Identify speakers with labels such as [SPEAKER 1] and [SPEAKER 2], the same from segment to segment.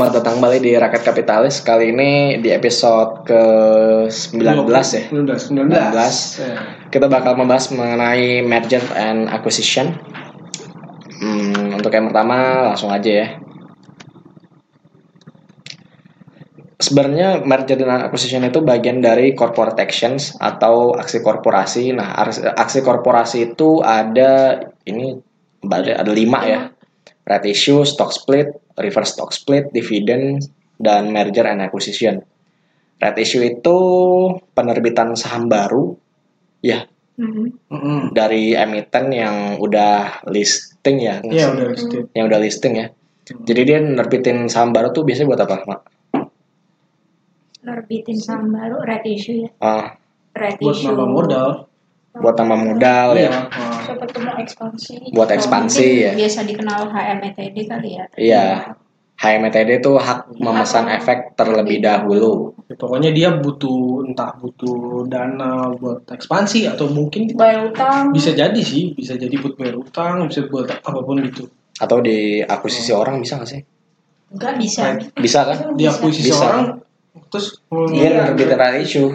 [SPEAKER 1] Selamat datang kembali di Rakyat Kapitalis Kali ini di episode ke-19 ya 19.
[SPEAKER 2] 19, 19. Ya.
[SPEAKER 1] Kita bakal membahas mengenai Merger and Acquisition Hmm, Untuk yang pertama langsung aja ya Sebenarnya merger dan acquisition itu bagian dari corporate actions atau aksi korporasi. Nah, ars- aksi korporasi itu ada ini ada, ada lima ya. Right issue, stock split, reverse stock split, dividend, dan merger and acquisition. Right issue itu penerbitan saham baru Ya,
[SPEAKER 3] Hmm.
[SPEAKER 4] Mhm.
[SPEAKER 2] Mm-mm.
[SPEAKER 1] dari emiten yang udah listing ya,
[SPEAKER 2] Iya, udah listed.
[SPEAKER 1] yang udah listing ya. Jadi dia nerbitin saham baru tuh biasanya buat apa? Mak?
[SPEAKER 4] Nerbitin saham baru red issue ya.
[SPEAKER 1] Ah,
[SPEAKER 4] Red
[SPEAKER 2] buat
[SPEAKER 4] issue.
[SPEAKER 2] nambah modal.
[SPEAKER 1] buat tambah modal ya.
[SPEAKER 2] Iya. Wah.
[SPEAKER 4] Siapa tuh mau ekspansi.
[SPEAKER 1] Buat
[SPEAKER 4] Atau
[SPEAKER 1] ekspansi,
[SPEAKER 4] mungkin
[SPEAKER 1] ya.
[SPEAKER 4] Biasa dikenal
[SPEAKER 3] E
[SPEAKER 4] HMTD kali ya.
[SPEAKER 1] Iya. HMTD itu hak memesan
[SPEAKER 4] Atau-
[SPEAKER 1] efek terlebih dahulu.
[SPEAKER 2] Ya, Pokoknya dia butuh entah butuh dana buat ekspansi atau mungkin
[SPEAKER 4] Bayar utang.
[SPEAKER 2] bisa jadi sih, bisa jadi buat bayar utang, bisa buat apapun gitu.
[SPEAKER 1] Atau di
[SPEAKER 2] Oh.
[SPEAKER 1] akuisisi orang bisa nggak sih?
[SPEAKER 4] Enggak bisa.
[SPEAKER 1] Bisa kan?
[SPEAKER 5] Oh,
[SPEAKER 2] Dia akuisisi
[SPEAKER 1] Bisa.
[SPEAKER 2] orang terus
[SPEAKER 1] Dia nerbitin right issue.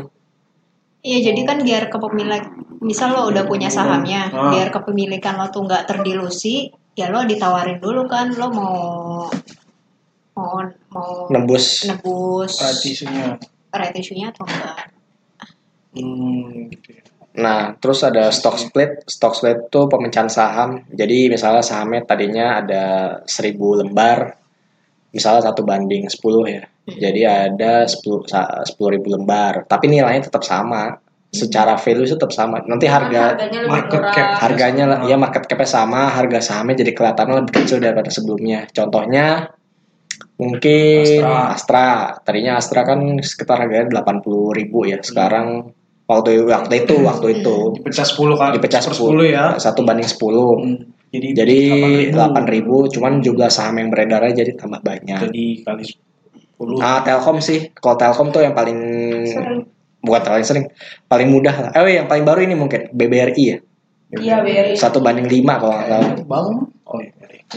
[SPEAKER 5] Iya, jadi kan biar kepemilik, misal lo udah punya ya, sahamnya,
[SPEAKER 2] Ah.
[SPEAKER 5] biar kepemilikan lo tuh nggak terdilusi, ya lo ditawarin dulu kan, lo mau mau mau
[SPEAKER 1] Nembus.
[SPEAKER 5] nebus
[SPEAKER 2] akuisisinya.
[SPEAKER 5] right issue-nya atau enggak?
[SPEAKER 2] Hmm, gitu ya.
[SPEAKER 1] Nah, terus ada stock split. Stock split itu pemecahan saham. Jadi misalnya sahamnya tadinya ada 1000 lembar, misalnya satu banding 10 ya. Jadi ada 10 sa- 10.000 lembar, tapi nilainya tetap sama. Secara value tetap sama. Nanti Hmm. Iya, harga
[SPEAKER 4] harganya
[SPEAKER 2] Market cap.
[SPEAKER 1] harganya lah- ya market cap-nya sama, harga sahamnya jadi kelihatannya lebih kecil daripada sebelumnya. Contohnya mungkin
[SPEAKER 2] Astra.
[SPEAKER 1] Astra. Tadinya Astra kan sekitar harganya 80.000 ya. Sekarang waktu waktu itu waktu itu
[SPEAKER 2] Dipecah 10 kali.
[SPEAKER 1] dipecah
[SPEAKER 2] per
[SPEAKER 1] 10,
[SPEAKER 2] 10 ya.
[SPEAKER 1] satu banding 10.
[SPEAKER 2] Hmm, Jadi
[SPEAKER 1] Jadi 8.000 cuman jumlah saham yang beredarnya jadi tambah banyak.
[SPEAKER 2] Jadi kali 10.
[SPEAKER 1] Ah, Telkom sih. Kalau Telkom tuh yang paling bukan paling sering, paling mudah lah. Eh, yang paling baru ini mungkin BBRI ya.
[SPEAKER 4] Iya, BRI.
[SPEAKER 1] Satu banding 5 kalau nggak salah.
[SPEAKER 2] Bang. Oh iya.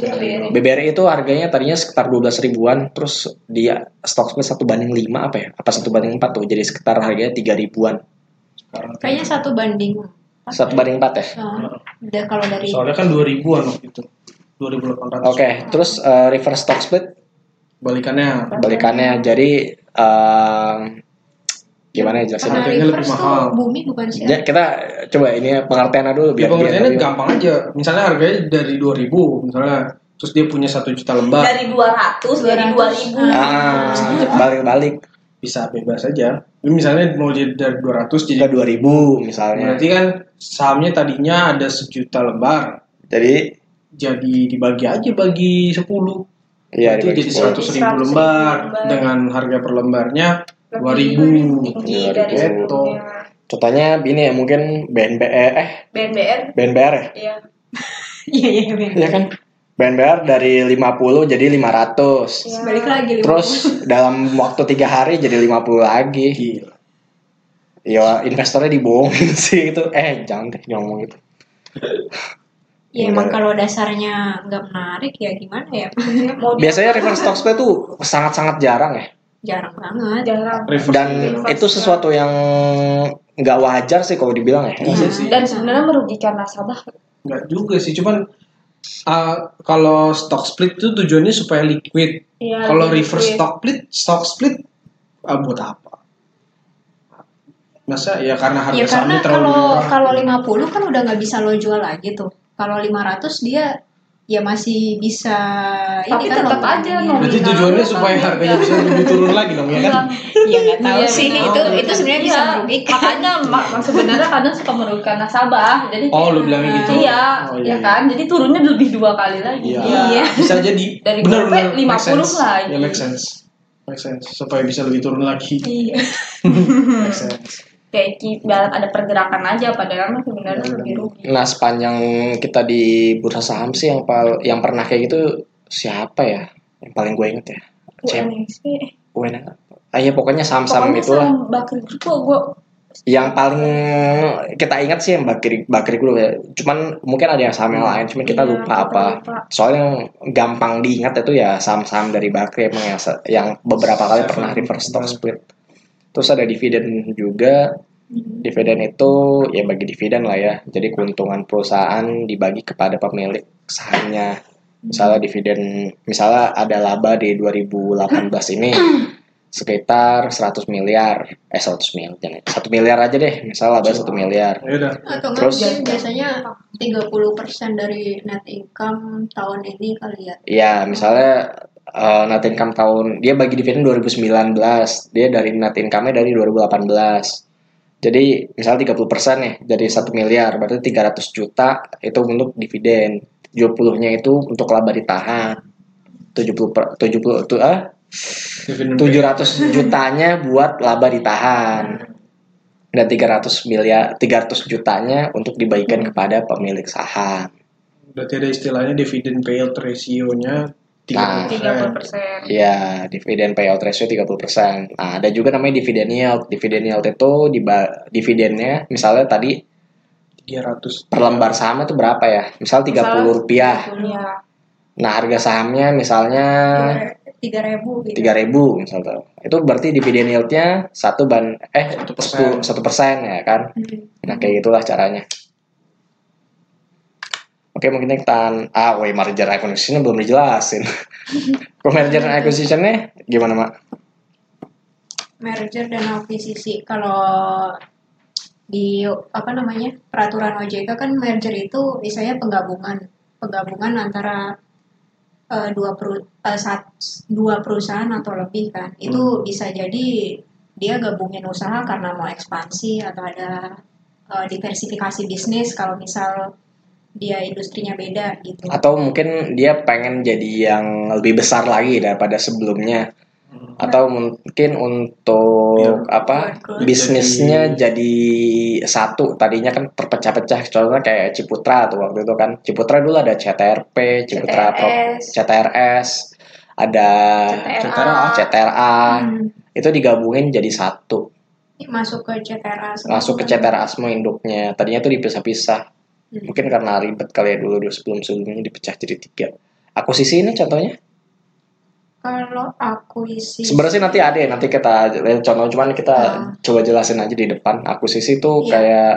[SPEAKER 4] Iya, BRI.
[SPEAKER 1] BBRI itu harganya tadinya sekitar 12 ribuan, terus dia stock split 1 banding 5 apa ya? Apa 1 banding 4 tuh, jadi sekitar harganya 3 ribuan.
[SPEAKER 2] Sekarang
[SPEAKER 5] Kayaknya satu banding.
[SPEAKER 1] 1 banding 4 ya?
[SPEAKER 5] Nah, udah kalau dari
[SPEAKER 2] Soalnya kan 2000-an waktu itu. 2800.
[SPEAKER 1] Oke, terus eh, reverse stock split,
[SPEAKER 2] Balikannya
[SPEAKER 1] balikannya jadi eh, gimana ya
[SPEAKER 3] Nah,
[SPEAKER 1] jelasin?
[SPEAKER 2] Karena harganya lebih
[SPEAKER 5] reverse
[SPEAKER 2] mahal.
[SPEAKER 5] tuh bumi bukan sih?
[SPEAKER 1] Ya, kita coba ini pengertiannya dulu
[SPEAKER 2] ya
[SPEAKER 1] biar
[SPEAKER 2] pengertiannya
[SPEAKER 1] biar-
[SPEAKER 2] gampang aja. Misalnya harganya dari 2000 misalnya terus dia punya 1 juta lembar
[SPEAKER 4] Dari 200, dari 2000.
[SPEAKER 1] Ah, balik-balik
[SPEAKER 2] bisa bebas aja. Ini misalnya mau jadi dari 200 jadi
[SPEAKER 1] ke 2000 misalnya.
[SPEAKER 2] berarti kan sahamnya tadinya ada sejuta lembar.
[SPEAKER 1] Jadi
[SPEAKER 2] Jadi dibagi aja bagi 10.
[SPEAKER 1] iya
[SPEAKER 2] itu
[SPEAKER 1] dibagi
[SPEAKER 2] jadi
[SPEAKER 1] 10.
[SPEAKER 2] 100 ribu
[SPEAKER 4] Jadi 100.000
[SPEAKER 2] lembar
[SPEAKER 4] lembar.
[SPEAKER 2] dengan harga per lembarnya
[SPEAKER 4] Lebih
[SPEAKER 2] 2000
[SPEAKER 4] tinggi
[SPEAKER 1] Iya,
[SPEAKER 4] dari
[SPEAKER 2] 2000.
[SPEAKER 4] sebelumnya.
[SPEAKER 1] Contohnya ini ya mungkin BNBR eh
[SPEAKER 4] BNBR.
[SPEAKER 1] BNBR ya?
[SPEAKER 4] Iya.
[SPEAKER 5] Iya, iya, bener.
[SPEAKER 1] Iya kan? BNBR dari 50 jadi 500.
[SPEAKER 4] Iya.
[SPEAKER 5] Balik lagi. Lim.
[SPEAKER 1] Terus dalam waktu tiga hari jadi 50 lagi.
[SPEAKER 2] Gila.
[SPEAKER 1] Ya investornya dibohongin sih itu. Eh jangan deh ngomong itu.
[SPEAKER 5] Ya emang kalau dasarnya nggak menarik ya gimana ya?
[SPEAKER 4] Mau di-
[SPEAKER 1] Biasanya reverse stock split tuh sangat-sangat jarang ya.
[SPEAKER 5] Jarang banget.
[SPEAKER 4] Jarang.
[SPEAKER 2] Reverse
[SPEAKER 1] Dan
[SPEAKER 4] Reverse
[SPEAKER 1] itu sesuatu yang nggak wajar sih kalau dibilang ya.
[SPEAKER 2] Iya sih.
[SPEAKER 4] Dan sebenarnya merugikan nasabah.
[SPEAKER 2] Nggak juga sih, cuman uh, kalau stock split itu tujuannya supaya liquid.
[SPEAKER 4] Iya,
[SPEAKER 6] Nah,
[SPEAKER 2] Kalau
[SPEAKER 4] lebih
[SPEAKER 2] reverse
[SPEAKER 4] liquid.
[SPEAKER 2] stock split, stock split uh, buat apa? Masa ya karena harga
[SPEAKER 5] Ya
[SPEAKER 2] sahamnya
[SPEAKER 5] karena
[SPEAKER 2] terlalu
[SPEAKER 5] kalau
[SPEAKER 2] murah.
[SPEAKER 5] kalau 50 kan udah nggak bisa lo jual lagi tuh. Kalau 500 dia ya masih bisa
[SPEAKER 4] Tapi
[SPEAKER 5] kan
[SPEAKER 4] tetap
[SPEAKER 5] lo-
[SPEAKER 4] aja
[SPEAKER 5] Iya.
[SPEAKER 4] nominal.
[SPEAKER 2] Berarti tujuannya
[SPEAKER 4] Kan
[SPEAKER 2] supaya
[SPEAKER 4] beda.
[SPEAKER 2] harganya bisa lebih turun lagi dong ya kan?
[SPEAKER 5] Ya nggak tahu
[SPEAKER 4] Iya,
[SPEAKER 5] sih
[SPEAKER 4] benar.
[SPEAKER 5] itu itu sebenarnya bisa merugikan.
[SPEAKER 4] Makanya mak- mak- sebenarnya kadang suka merugikan nasabah. Jadi
[SPEAKER 2] Oh, lu bilangnya gitu.
[SPEAKER 4] Iya,
[SPEAKER 2] Oh,
[SPEAKER 4] iya kan? Jadi turunnya lebih dua kali lagi.
[SPEAKER 2] Iya.
[SPEAKER 5] Iya.
[SPEAKER 2] Bisa jadi
[SPEAKER 4] Dari
[SPEAKER 2] benar-benar
[SPEAKER 4] gope 50
[SPEAKER 2] make sense.
[SPEAKER 4] lagi.
[SPEAKER 2] Ya make sense. Make sense. Supaya bisa lebih turun lagi.
[SPEAKER 4] Iya.
[SPEAKER 2] Make sense.
[SPEAKER 4] Kayak ki- ibarat ada pergerakan aja padahal mah
[SPEAKER 2] Iya,
[SPEAKER 4] sebenarnya lebih rugi.
[SPEAKER 1] Nah sepanjang kita di bursa saham sih yang pal- yang pernah kayak gitu siapa ya? Yang paling gue inget ya. Cep,
[SPEAKER 4] UNXP.
[SPEAKER 1] Wena. Ah ya pokoknya saham-saham
[SPEAKER 4] Pokoknya
[SPEAKER 1] itulah.
[SPEAKER 4] sama Bakri Group kok gua
[SPEAKER 1] yang paling kita ingat sih yang bakri bakri dulu ya. Cuman mungkin ada yang saham yang lain, cuman kita
[SPEAKER 6] Iya,
[SPEAKER 1] lupa
[SPEAKER 6] kita
[SPEAKER 1] apa.
[SPEAKER 6] lupa.
[SPEAKER 1] Soalnya yang gampang diingat itu ya saham-saham dari bakri emang yang, se- yang beberapa kali pernah reverse stock split. Terus ada dividen juga. Dividen itu ya bagi dividen lah ya. Jadi keuntungan perusahaan dibagi kepada pemilik sahamnya. Misalnya dividen, misalnya ada laba di 2018 ini sekitar 100 miliar. Eh 100 miliar, jangan. 1 miliar aja deh. Misalnya laba 1 miliar.
[SPEAKER 2] Ya udah.
[SPEAKER 5] Nah,
[SPEAKER 3] Atau nggak
[SPEAKER 1] Terus-
[SPEAKER 3] mungkin biasanya 30% dari net income tahun ini kali ya.
[SPEAKER 1] Ya, misalnya eh, net income tahun dia bagi dividen 2019, dia dari net income-nya dari 2018. Jadi misalnya 30% nih, jadi 1 miliar, berarti 300 juta itu untuk dividen. 70-nya itu untuk laba ditahan. 70 per, 70 itu ah
[SPEAKER 2] Dividen
[SPEAKER 1] 700 jutanya buat laba ditahan. Dan 300 miliar 300 jutanya untuk dibagikan kepada pemilik saham.
[SPEAKER 2] Berarti ada istilahnya dividen payout ratio-nya 30%.
[SPEAKER 1] Nah.
[SPEAKER 6] tiga puluh persen
[SPEAKER 1] Ya, dividen payout ratio 30%. Nah, ada juga namanya dividen yield. Dividen yield itu diba- dividennya misalnya tadi
[SPEAKER 2] 300.
[SPEAKER 1] per lembar saham itu berapa ya? Misal 30
[SPEAKER 6] Misalnya
[SPEAKER 1] rupiah.
[SPEAKER 6] Iya.
[SPEAKER 1] Nah, harga sahamnya misalnya
[SPEAKER 3] 3000 gitu.
[SPEAKER 1] 3000 misalnya. Itu berarti dividen yield-nya 1 ban eh 10 1%
[SPEAKER 2] 1%.
[SPEAKER 1] ya kan.
[SPEAKER 5] Hmm.
[SPEAKER 1] Nah, kayak gitulah caranya. Oke, mungkin kita ah, woi merger acquisition belum dijelasin. Kok merger and acquisition-nya gimana, Mak?
[SPEAKER 3] merger dan akuisisi. Kalau di apa namanya peraturan OJK kan merger itu misalnya penggabungan penggabungan antara eh, dua peru- eh, sat- dua perusahaan atau lebih kan
[SPEAKER 1] Hmm.
[SPEAKER 3] itu bisa jadi dia gabungin usaha karena mau ekspansi atau ada eh, diversifikasi bisnis kalau misal dia industrinya beda gitu
[SPEAKER 1] atau mungkin dia pengen jadi yang lebih besar lagi daripada sebelumnya
[SPEAKER 2] Hmm.
[SPEAKER 1] atau mungkin untuk apa
[SPEAKER 3] Buat
[SPEAKER 1] bisnisnya jadi satu tadinya kan terpecah-pecah contohnya kayak Ciputra tuh waktu itu kan Ciputra dulu ada CTRP Ciputra Pro-
[SPEAKER 6] CTRS.
[SPEAKER 1] CTRS ada oh,
[SPEAKER 2] Cetera.
[SPEAKER 6] CTRA
[SPEAKER 1] CTRA
[SPEAKER 3] Hmm.
[SPEAKER 1] itu digabungin jadi satu
[SPEAKER 3] masuk ke CTRA semua
[SPEAKER 1] langsung ke
[SPEAKER 3] kan?
[SPEAKER 1] CTRA semua induknya tadinya tuh dipisah-pisah
[SPEAKER 3] Hmm.
[SPEAKER 1] mungkin karena ribet kali ya dulu, dulu sebelum sebelumnya dipecah jadi tiga aku sisi ini contohnya
[SPEAKER 3] kalau akuisisi
[SPEAKER 1] Sebenarnya sih nanti ada ya, nanti kita contoh cuman kita
[SPEAKER 3] Iya. Ah.
[SPEAKER 1] coba jelasin aja di depan. Akuisisi itu
[SPEAKER 3] Iya.
[SPEAKER 1] kayak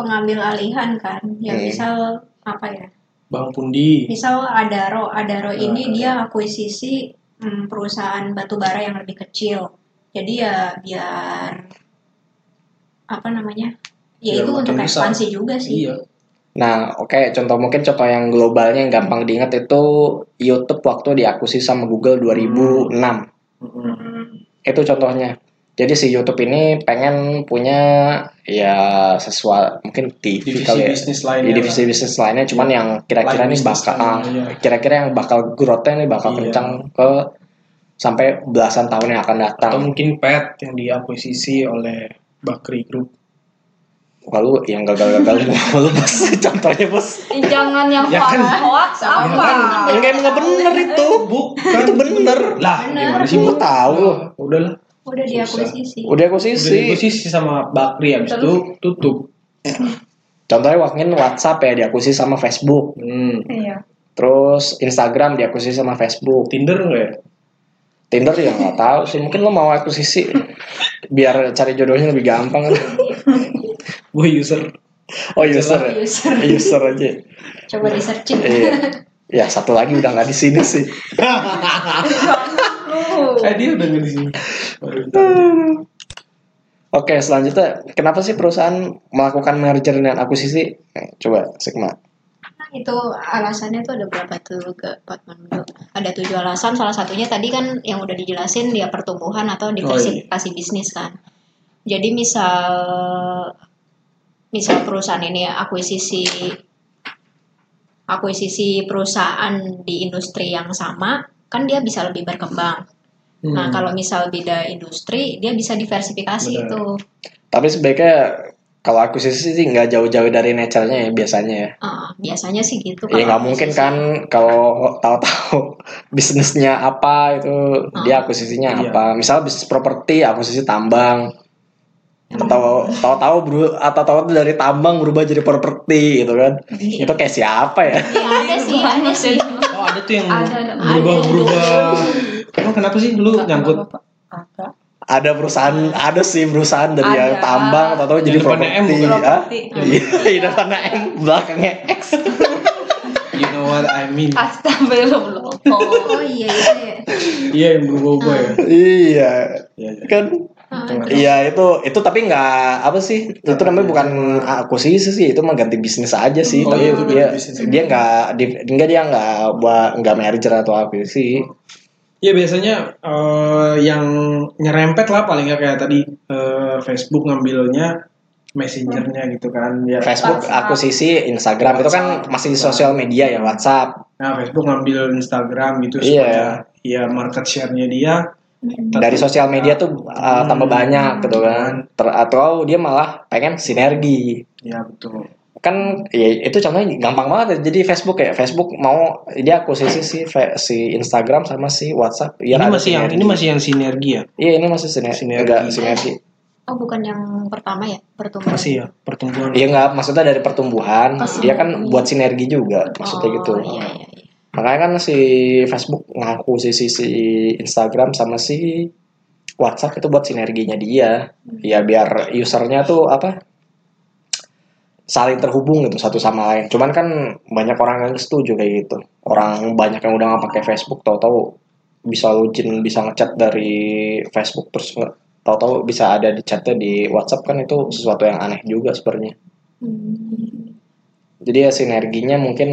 [SPEAKER 3] pengambil alihan kan ya
[SPEAKER 1] Hmm.
[SPEAKER 3] misal apa ya
[SPEAKER 2] Bang Pundi.
[SPEAKER 3] misal Adaro Adaro
[SPEAKER 2] Hmm.
[SPEAKER 3] ini dia akuisisi mm, perusahaan batubara yang lebih kecil jadi ya biar apa namanya ya
[SPEAKER 2] Biar
[SPEAKER 3] itu untuk
[SPEAKER 2] makin besar.
[SPEAKER 3] ekspansi juga sih
[SPEAKER 2] Iya.
[SPEAKER 1] nah oke contoh mungkin contoh yang globalnya yang gampang diingat itu YouTube waktu diakuisisi sama
[SPEAKER 3] Hmm.
[SPEAKER 1] Google 2006.
[SPEAKER 2] Mm-mm.
[SPEAKER 1] Itu contohnya. Jadi si YouTube ini pengen punya ya sesuatu mungkin TV
[SPEAKER 2] Divisi
[SPEAKER 1] kali ya.
[SPEAKER 2] bisnis lainnya.
[SPEAKER 1] Di divisi bisnis lainnya cuman yang kira-kira
[SPEAKER 2] Lain
[SPEAKER 1] ini
[SPEAKER 2] bisnis
[SPEAKER 1] bakal
[SPEAKER 2] lainnya,
[SPEAKER 1] ah,
[SPEAKER 2] iya.
[SPEAKER 1] kira-kira yang bakal growth-nya ini bakal
[SPEAKER 2] Iya.
[SPEAKER 1] kencang ke sampai belasan tahun yang akan
[SPEAKER 2] lah.
[SPEAKER 1] datang.
[SPEAKER 2] Atau mungkin pet yang diakuisisi oleh Bakri Group.
[SPEAKER 1] Kalau yang gagal-gagal mulu bos contohnya bos
[SPEAKER 4] Eh,
[SPEAKER 6] Ih, jangan yang
[SPEAKER 2] Ya kan.
[SPEAKER 6] hoax hoax apa
[SPEAKER 1] enggak enggak bener itu
[SPEAKER 2] Ah. Bukan.
[SPEAKER 1] itu bener
[SPEAKER 2] Lah,
[SPEAKER 3] Bener.
[SPEAKER 2] gimana sih?
[SPEAKER 1] sih gua tahu
[SPEAKER 2] Oh, Udahlah. Susah.
[SPEAKER 3] udah diakuisisi
[SPEAKER 1] udah aku
[SPEAKER 2] Udah
[SPEAKER 1] sisi
[SPEAKER 2] diakuisisi sama Bakri habis itu tutup.
[SPEAKER 1] contohnya wakin WhatsApp ya diakuisisi sama Facebook
[SPEAKER 2] Hmm.
[SPEAKER 6] iya
[SPEAKER 1] terus Instagram diakuisisi sama Facebook
[SPEAKER 2] Tinder enggak ya?
[SPEAKER 1] Tinder ya nggak tahu sih mungkin lo mau akuisisi biar cari jodohnya lebih gampang
[SPEAKER 2] Gue user.
[SPEAKER 1] oh user ya
[SPEAKER 3] User.
[SPEAKER 1] user aja
[SPEAKER 3] coba di searching
[SPEAKER 1] iya ya satu lagi udah nggak di sini sih
[SPEAKER 2] Eh dia udah nggak di sini. Baru
[SPEAKER 1] Oke, selanjutnya kenapa sih perusahaan melakukan merger dan akuisisi? Eh, Coba Sigma.
[SPEAKER 3] Nah, itu alasannya tuh ada berapa tuh ke Pak Mandu? Ada tujuh alasan. Salah satunya tadi kan yang udah dijelasin dia pertumbuhan
[SPEAKER 1] Oh,
[SPEAKER 3] atau diversifikasi
[SPEAKER 1] iya.
[SPEAKER 3] bisnis kan. Jadi misal misal perusahaan ini akuisisi akuisisi perusahaan di industri yang sama kan dia bisa lebih berkembang. Nah
[SPEAKER 2] Hmm.
[SPEAKER 3] kalau misal beda industri dia bisa diversifikasi
[SPEAKER 2] Benar.
[SPEAKER 3] itu.
[SPEAKER 1] Tapi sebaiknya kalau akuisisi sih nggak jauh-jauh dari nature-nya ya biasanya ya.
[SPEAKER 3] Ah, biasanya sih gitu.
[SPEAKER 1] Ya
[SPEAKER 3] kalau
[SPEAKER 1] nggak mungkin
[SPEAKER 3] akuisisi.
[SPEAKER 1] kan kalau tahu-tahu bisnisnya apa itu dia akuisisinya
[SPEAKER 2] Iya.
[SPEAKER 1] apa. Misal bisnis properti akuisisi tambang. tahu tahu beru atau tahu itu dari tambang berubah jadi properti gitu kan itu kayak siapa ya
[SPEAKER 4] Iya, ada sih, ada sih.
[SPEAKER 2] Oh ada tuh yang
[SPEAKER 4] Ada, ada.
[SPEAKER 2] berubah-berubah. Emang kenapa sih dulu nyangkut
[SPEAKER 3] Ada.
[SPEAKER 1] ada perusahaan ada sih perusahaan dari
[SPEAKER 3] Ada.
[SPEAKER 1] yang tambang atau tahu
[SPEAKER 2] Yang
[SPEAKER 1] jadi
[SPEAKER 2] depannya M
[SPEAKER 1] properti
[SPEAKER 2] bukan?
[SPEAKER 1] ah
[SPEAKER 3] Properti.
[SPEAKER 1] iya di depannya M belakangnya X
[SPEAKER 2] You know what I mean?
[SPEAKER 3] Ah. Astagfirullah.
[SPEAKER 5] oh iya iya iya.
[SPEAKER 2] Iya yang berubah-ubah ya.
[SPEAKER 3] Ah.
[SPEAKER 1] iya
[SPEAKER 2] Iya. iya.
[SPEAKER 1] kan
[SPEAKER 5] Ah,
[SPEAKER 2] Itu nggak tahu.
[SPEAKER 1] Iya itu itu tapi nggak apa sih itu namanya bukan akuisisi sih itu mah ganti bisnis aja sih
[SPEAKER 2] Oh,
[SPEAKER 1] tapi
[SPEAKER 2] iya, itu ganti
[SPEAKER 1] dia
[SPEAKER 2] bisnis.
[SPEAKER 1] dia nggak di- enggak dia nggak buat nggak merger atau apa sih
[SPEAKER 2] Iya biasanya eh, yang nyerempet lah paling nggak kayak tadi eh, Facebook ngambilnya messengernya gitu kan ya.
[SPEAKER 1] Facebook
[SPEAKER 4] WhatsApp.
[SPEAKER 1] akuisisi Instagram itu kan masih sosial media ya WhatsApp
[SPEAKER 2] Nah Facebook ngambil Instagram gitu
[SPEAKER 1] Iya.
[SPEAKER 2] supaya ya market share-nya dia
[SPEAKER 1] dari sosial media tuh uh, tambah
[SPEAKER 2] Hmm.
[SPEAKER 1] banyak gitu kan Ter- atau dia malah pengen sinergi
[SPEAKER 2] Ya betul.
[SPEAKER 1] kan ya itu contohnya gampang banget ya. jadi Facebook ya Facebook mau dia akuisisi si Fe- si Instagram sama si WhatsApp biar ada
[SPEAKER 2] ini masih yang
[SPEAKER 1] sinergi.
[SPEAKER 2] ini masih yang sinergi ya.
[SPEAKER 1] iya ini masih siner-
[SPEAKER 2] Sinergi.
[SPEAKER 1] enggak sinergi
[SPEAKER 3] Oh bukan yang pertama ya pertemuan.
[SPEAKER 2] Masih ya pertumbuhan.
[SPEAKER 1] Iya nggak, maksudnya dari pertumbuhan
[SPEAKER 3] Oh, sinergi.
[SPEAKER 1] dia kan buat sinergi juga maksudnya
[SPEAKER 3] Oh,
[SPEAKER 1] gitu.
[SPEAKER 3] Iya, iya, iya.
[SPEAKER 1] Makanya kan si Facebook ngaku si si, si Instagram sama si WhatsApp itu buat sinerginya dia. Ya biar usernya tuh apa? saling terhubung gitu satu sama lain. Cuman kan banyak orang yang setuju kayak gitu. Orang banyak yang udah nggak pakai Facebook tahu-tahu bisa login bisa ngechat dari Facebook terus nge- tahu-tahu bisa ada di chatnya di WhatsApp kan itu sesuatu yang aneh juga sebenarnya
[SPEAKER 3] Hmm.
[SPEAKER 1] jadi ya sinerginya mungkin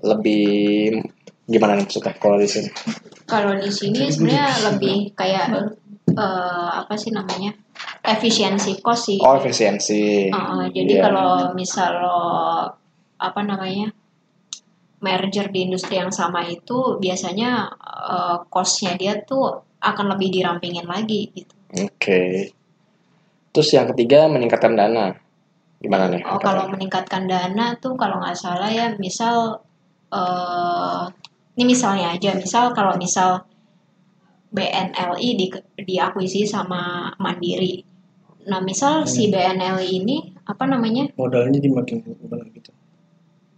[SPEAKER 1] lebih gimana nih maksudnya kalau di sini
[SPEAKER 3] Kalau di sini sebenarnya lebih kayak eh, apa sih namanya efisiensi kos sih.
[SPEAKER 1] oh efisiensi
[SPEAKER 3] Heeh,
[SPEAKER 1] Iya.
[SPEAKER 3] jadi kalau misal lo apa namanya merger di industri yang sama itu biasanya eh, cost-nya dia tuh akan lebih dirampingin lagi gitu.
[SPEAKER 1] oke terus yang ketiga meningkatkan dana gimana nih
[SPEAKER 2] Gitu.
[SPEAKER 3] Oh kalau meningkatkan dana tuh kalau nggak salah ya misal eh ini misalnya aja misal kalau misal BNLI di diakuisisi sama Mandiri. Nah
[SPEAKER 2] Hmm.
[SPEAKER 3] misal si BNLI ini apa namanya
[SPEAKER 2] Modalnya dimakin berubah gitu.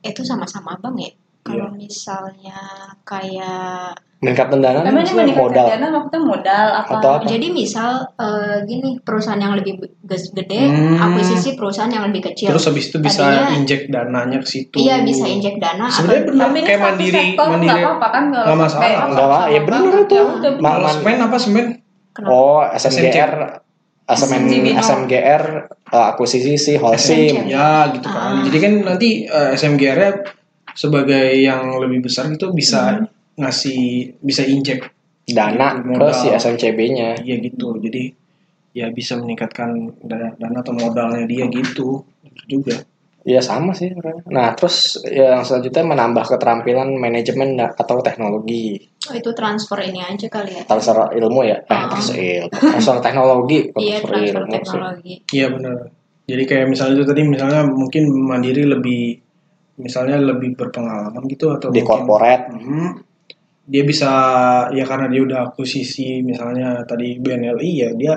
[SPEAKER 3] itu sama-sama bang ya kalau
[SPEAKER 2] Iya.
[SPEAKER 3] misalnya kayak
[SPEAKER 1] meningkatkan dana
[SPEAKER 4] Emang
[SPEAKER 1] nih
[SPEAKER 4] ini
[SPEAKER 1] maksudnya modal
[SPEAKER 4] meningkatkan dana maksudnya modal apa?
[SPEAKER 1] atau apa
[SPEAKER 3] jadi misal eh, gini perusahaan yang lebih be- ges- gede
[SPEAKER 2] Hmm.
[SPEAKER 3] akuisisi perusahaan yang lebih
[SPEAKER 4] Iya.
[SPEAKER 3] kecil
[SPEAKER 2] Terus habis itu bisa
[SPEAKER 3] Tadinya-
[SPEAKER 2] injek dananya ke situ.
[SPEAKER 3] iya bisa injek dana
[SPEAKER 2] Sebenarnya
[SPEAKER 3] atau-
[SPEAKER 2] benar
[SPEAKER 4] Tapi ini
[SPEAKER 2] kayak
[SPEAKER 4] satu
[SPEAKER 2] mandiri
[SPEAKER 4] sektor
[SPEAKER 2] mandiri.
[SPEAKER 4] nggak apa-apa kan kalau
[SPEAKER 2] Nggak masalah.
[SPEAKER 4] kayak apa,
[SPEAKER 1] Nggak masalah. Ya,
[SPEAKER 4] sama
[SPEAKER 1] bener
[SPEAKER 4] banget.
[SPEAKER 1] itu.
[SPEAKER 4] Ya udah, bener.
[SPEAKER 1] Malah-
[SPEAKER 2] Kalau semen apa semen?
[SPEAKER 3] Kenapa?
[SPEAKER 1] oh SMGR SMN
[SPEAKER 4] SMGBO.
[SPEAKER 1] SMGR eh, akuisisi si Holcim
[SPEAKER 3] SMGR.
[SPEAKER 2] Ya gitu
[SPEAKER 3] Ah.
[SPEAKER 2] kan. Jadi kan nanti eh, SMGR-nya sebagai yang lebih besar itu bisa ngasih bisa injek
[SPEAKER 1] dana ke
[SPEAKER 2] Gitu, modal.
[SPEAKER 1] si SMCB-nya
[SPEAKER 2] dia gitu. Jadi ya bisa meningkatkan dana, dana atau modalnya dia gitu juga.
[SPEAKER 1] ya sama sih sebenarnya. nah terus yang selanjutnya menambah keterampilan manajemen da- atau teknologi
[SPEAKER 3] Oh, itu transfer ini aja kali ya
[SPEAKER 1] transfer ilmu ya eh,
[SPEAKER 3] Ah.
[SPEAKER 1] transfer ilmu transfer teknologi kok
[SPEAKER 3] iya
[SPEAKER 1] transfer
[SPEAKER 3] transfer
[SPEAKER 1] ilmu sih.
[SPEAKER 3] teknologi
[SPEAKER 2] Iya benar. Jadi kayak misalnya itu tadi misalnya mungkin mandiri lebih misalnya lebih berpengalaman gitu atau
[SPEAKER 1] di
[SPEAKER 2] mungkin-
[SPEAKER 1] corporate
[SPEAKER 2] Hmm. Dia bisa ya karena dia udah akuisisi misalnya tadi BNLI ya dia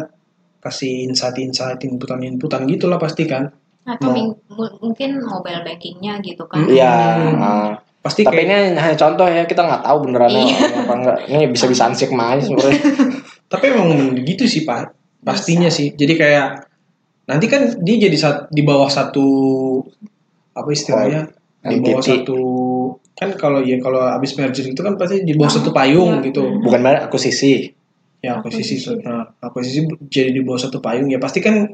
[SPEAKER 2] kasih insight-insight inputan-inputan gitulah pasti kan.
[SPEAKER 3] atau
[SPEAKER 2] Mau-
[SPEAKER 3] ming- mu- mungkin mobile bankingnya gitu kan
[SPEAKER 2] Hmm.
[SPEAKER 1] iya
[SPEAKER 2] Hmm.
[SPEAKER 1] ah.
[SPEAKER 2] Pasti
[SPEAKER 1] tapi
[SPEAKER 2] kayak,
[SPEAKER 1] ini hanya contoh ya kita nggak tahu beneran
[SPEAKER 3] Iya.
[SPEAKER 1] apa enggak ini bisa bisa ansik aja sebenarnya
[SPEAKER 2] tapi emang gitu sih Pak. Pastinya sih. Jadi kayak nanti kan dia jadi sat- di bawah satu apa istilahnya? Di bawah
[SPEAKER 1] entity.
[SPEAKER 2] satu kan kalau ya kalau abis merger itu kan pasti di bawah satu payung gitu.
[SPEAKER 1] bukan banget Iya. akuisisi
[SPEAKER 2] Ya akuisisi,
[SPEAKER 3] Akuisisi.
[SPEAKER 2] nah, akuisisi jadi di bawah satu payung ya pasti kan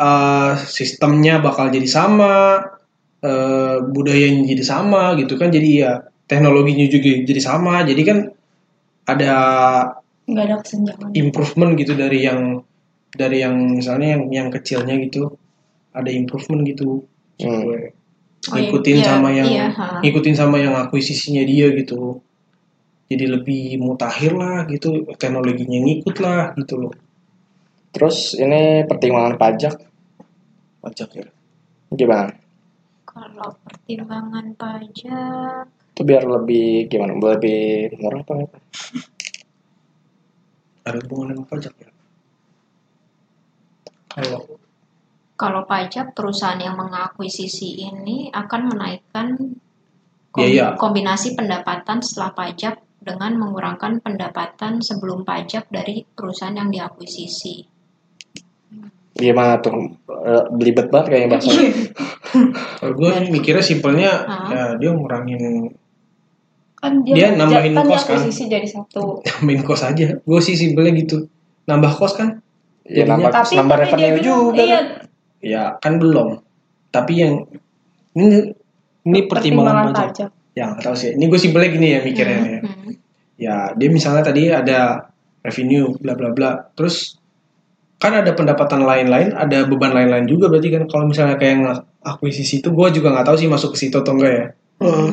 [SPEAKER 2] eh, sistemnya bakal jadi sama, eh, budayanya jadi sama gitu kan, jadi ya teknologinya juga jadi sama, jadi kan ada
[SPEAKER 4] Nggak ada kesenjangan.
[SPEAKER 2] improvement gitu dari yang dari yang misalnya yang yang kecilnya gitu, ada improvement gitu,
[SPEAKER 1] Hmm.
[SPEAKER 2] gue
[SPEAKER 3] Oh, iya.
[SPEAKER 2] ngikutin
[SPEAKER 3] Iya,
[SPEAKER 2] sama yang
[SPEAKER 3] iya, ha.
[SPEAKER 2] ngikutin sama yang akuisisinya dia gitu, jadi lebih mutakhir lah gitu, teknologinya ngikut lah gitu loh.
[SPEAKER 1] terus ini pertimbangan pajak
[SPEAKER 2] pajak ya.
[SPEAKER 1] gimana
[SPEAKER 3] kalau pertimbangan pajak
[SPEAKER 1] itu biar lebih gimana lebih murah apa enggak?
[SPEAKER 2] Ada hubungan dengan pajak ya. Kalau
[SPEAKER 3] Kalau pajak perusahaan yang mengakuisisi ini akan menaikkan kom-
[SPEAKER 2] Biaya.
[SPEAKER 3] kombinasi pendapatan setelah pajak dengan mengurangkan pendapatan sebelum pajak dari perusahaan yang diakuisisi.
[SPEAKER 1] Gimana tuh? Eh, Belibet banget kayaknya
[SPEAKER 6] Iya.
[SPEAKER 1] Ya, bahasanya.
[SPEAKER 4] Iya,
[SPEAKER 2] Kalau gue mikirnya simpelnya
[SPEAKER 3] Ah.
[SPEAKER 2] ya, dia ngurangin
[SPEAKER 4] kan dia,
[SPEAKER 2] Dia nambahin
[SPEAKER 4] kan
[SPEAKER 2] kos, kan? Iya,
[SPEAKER 4] akuisisi jadi satu
[SPEAKER 2] main kos aja. Gue sih simpelnya gitu. Nambah kos kan?
[SPEAKER 1] Ya nambah,
[SPEAKER 4] tapi
[SPEAKER 1] nambah
[SPEAKER 4] tapi dia
[SPEAKER 1] revenue
[SPEAKER 4] bilang,
[SPEAKER 1] juga.
[SPEAKER 4] iya
[SPEAKER 2] Ya kan belum. Tapi yang ini ini pertimbangan pajak.
[SPEAKER 4] pajak
[SPEAKER 2] Ya nggak tahu sih. Ini gue simpelnya gini ya mikirnya. ya.
[SPEAKER 3] Hmm.
[SPEAKER 2] ya dia misalnya tadi ada revenue bla bla bla terus kan ada pendapatan lain-lain ada beban lain-lain juga berarti kan kalau misalnya kayak yang akuisisi itu gue juga nggak tahu sih masuk ke situ atau enggak ya
[SPEAKER 3] Hmm.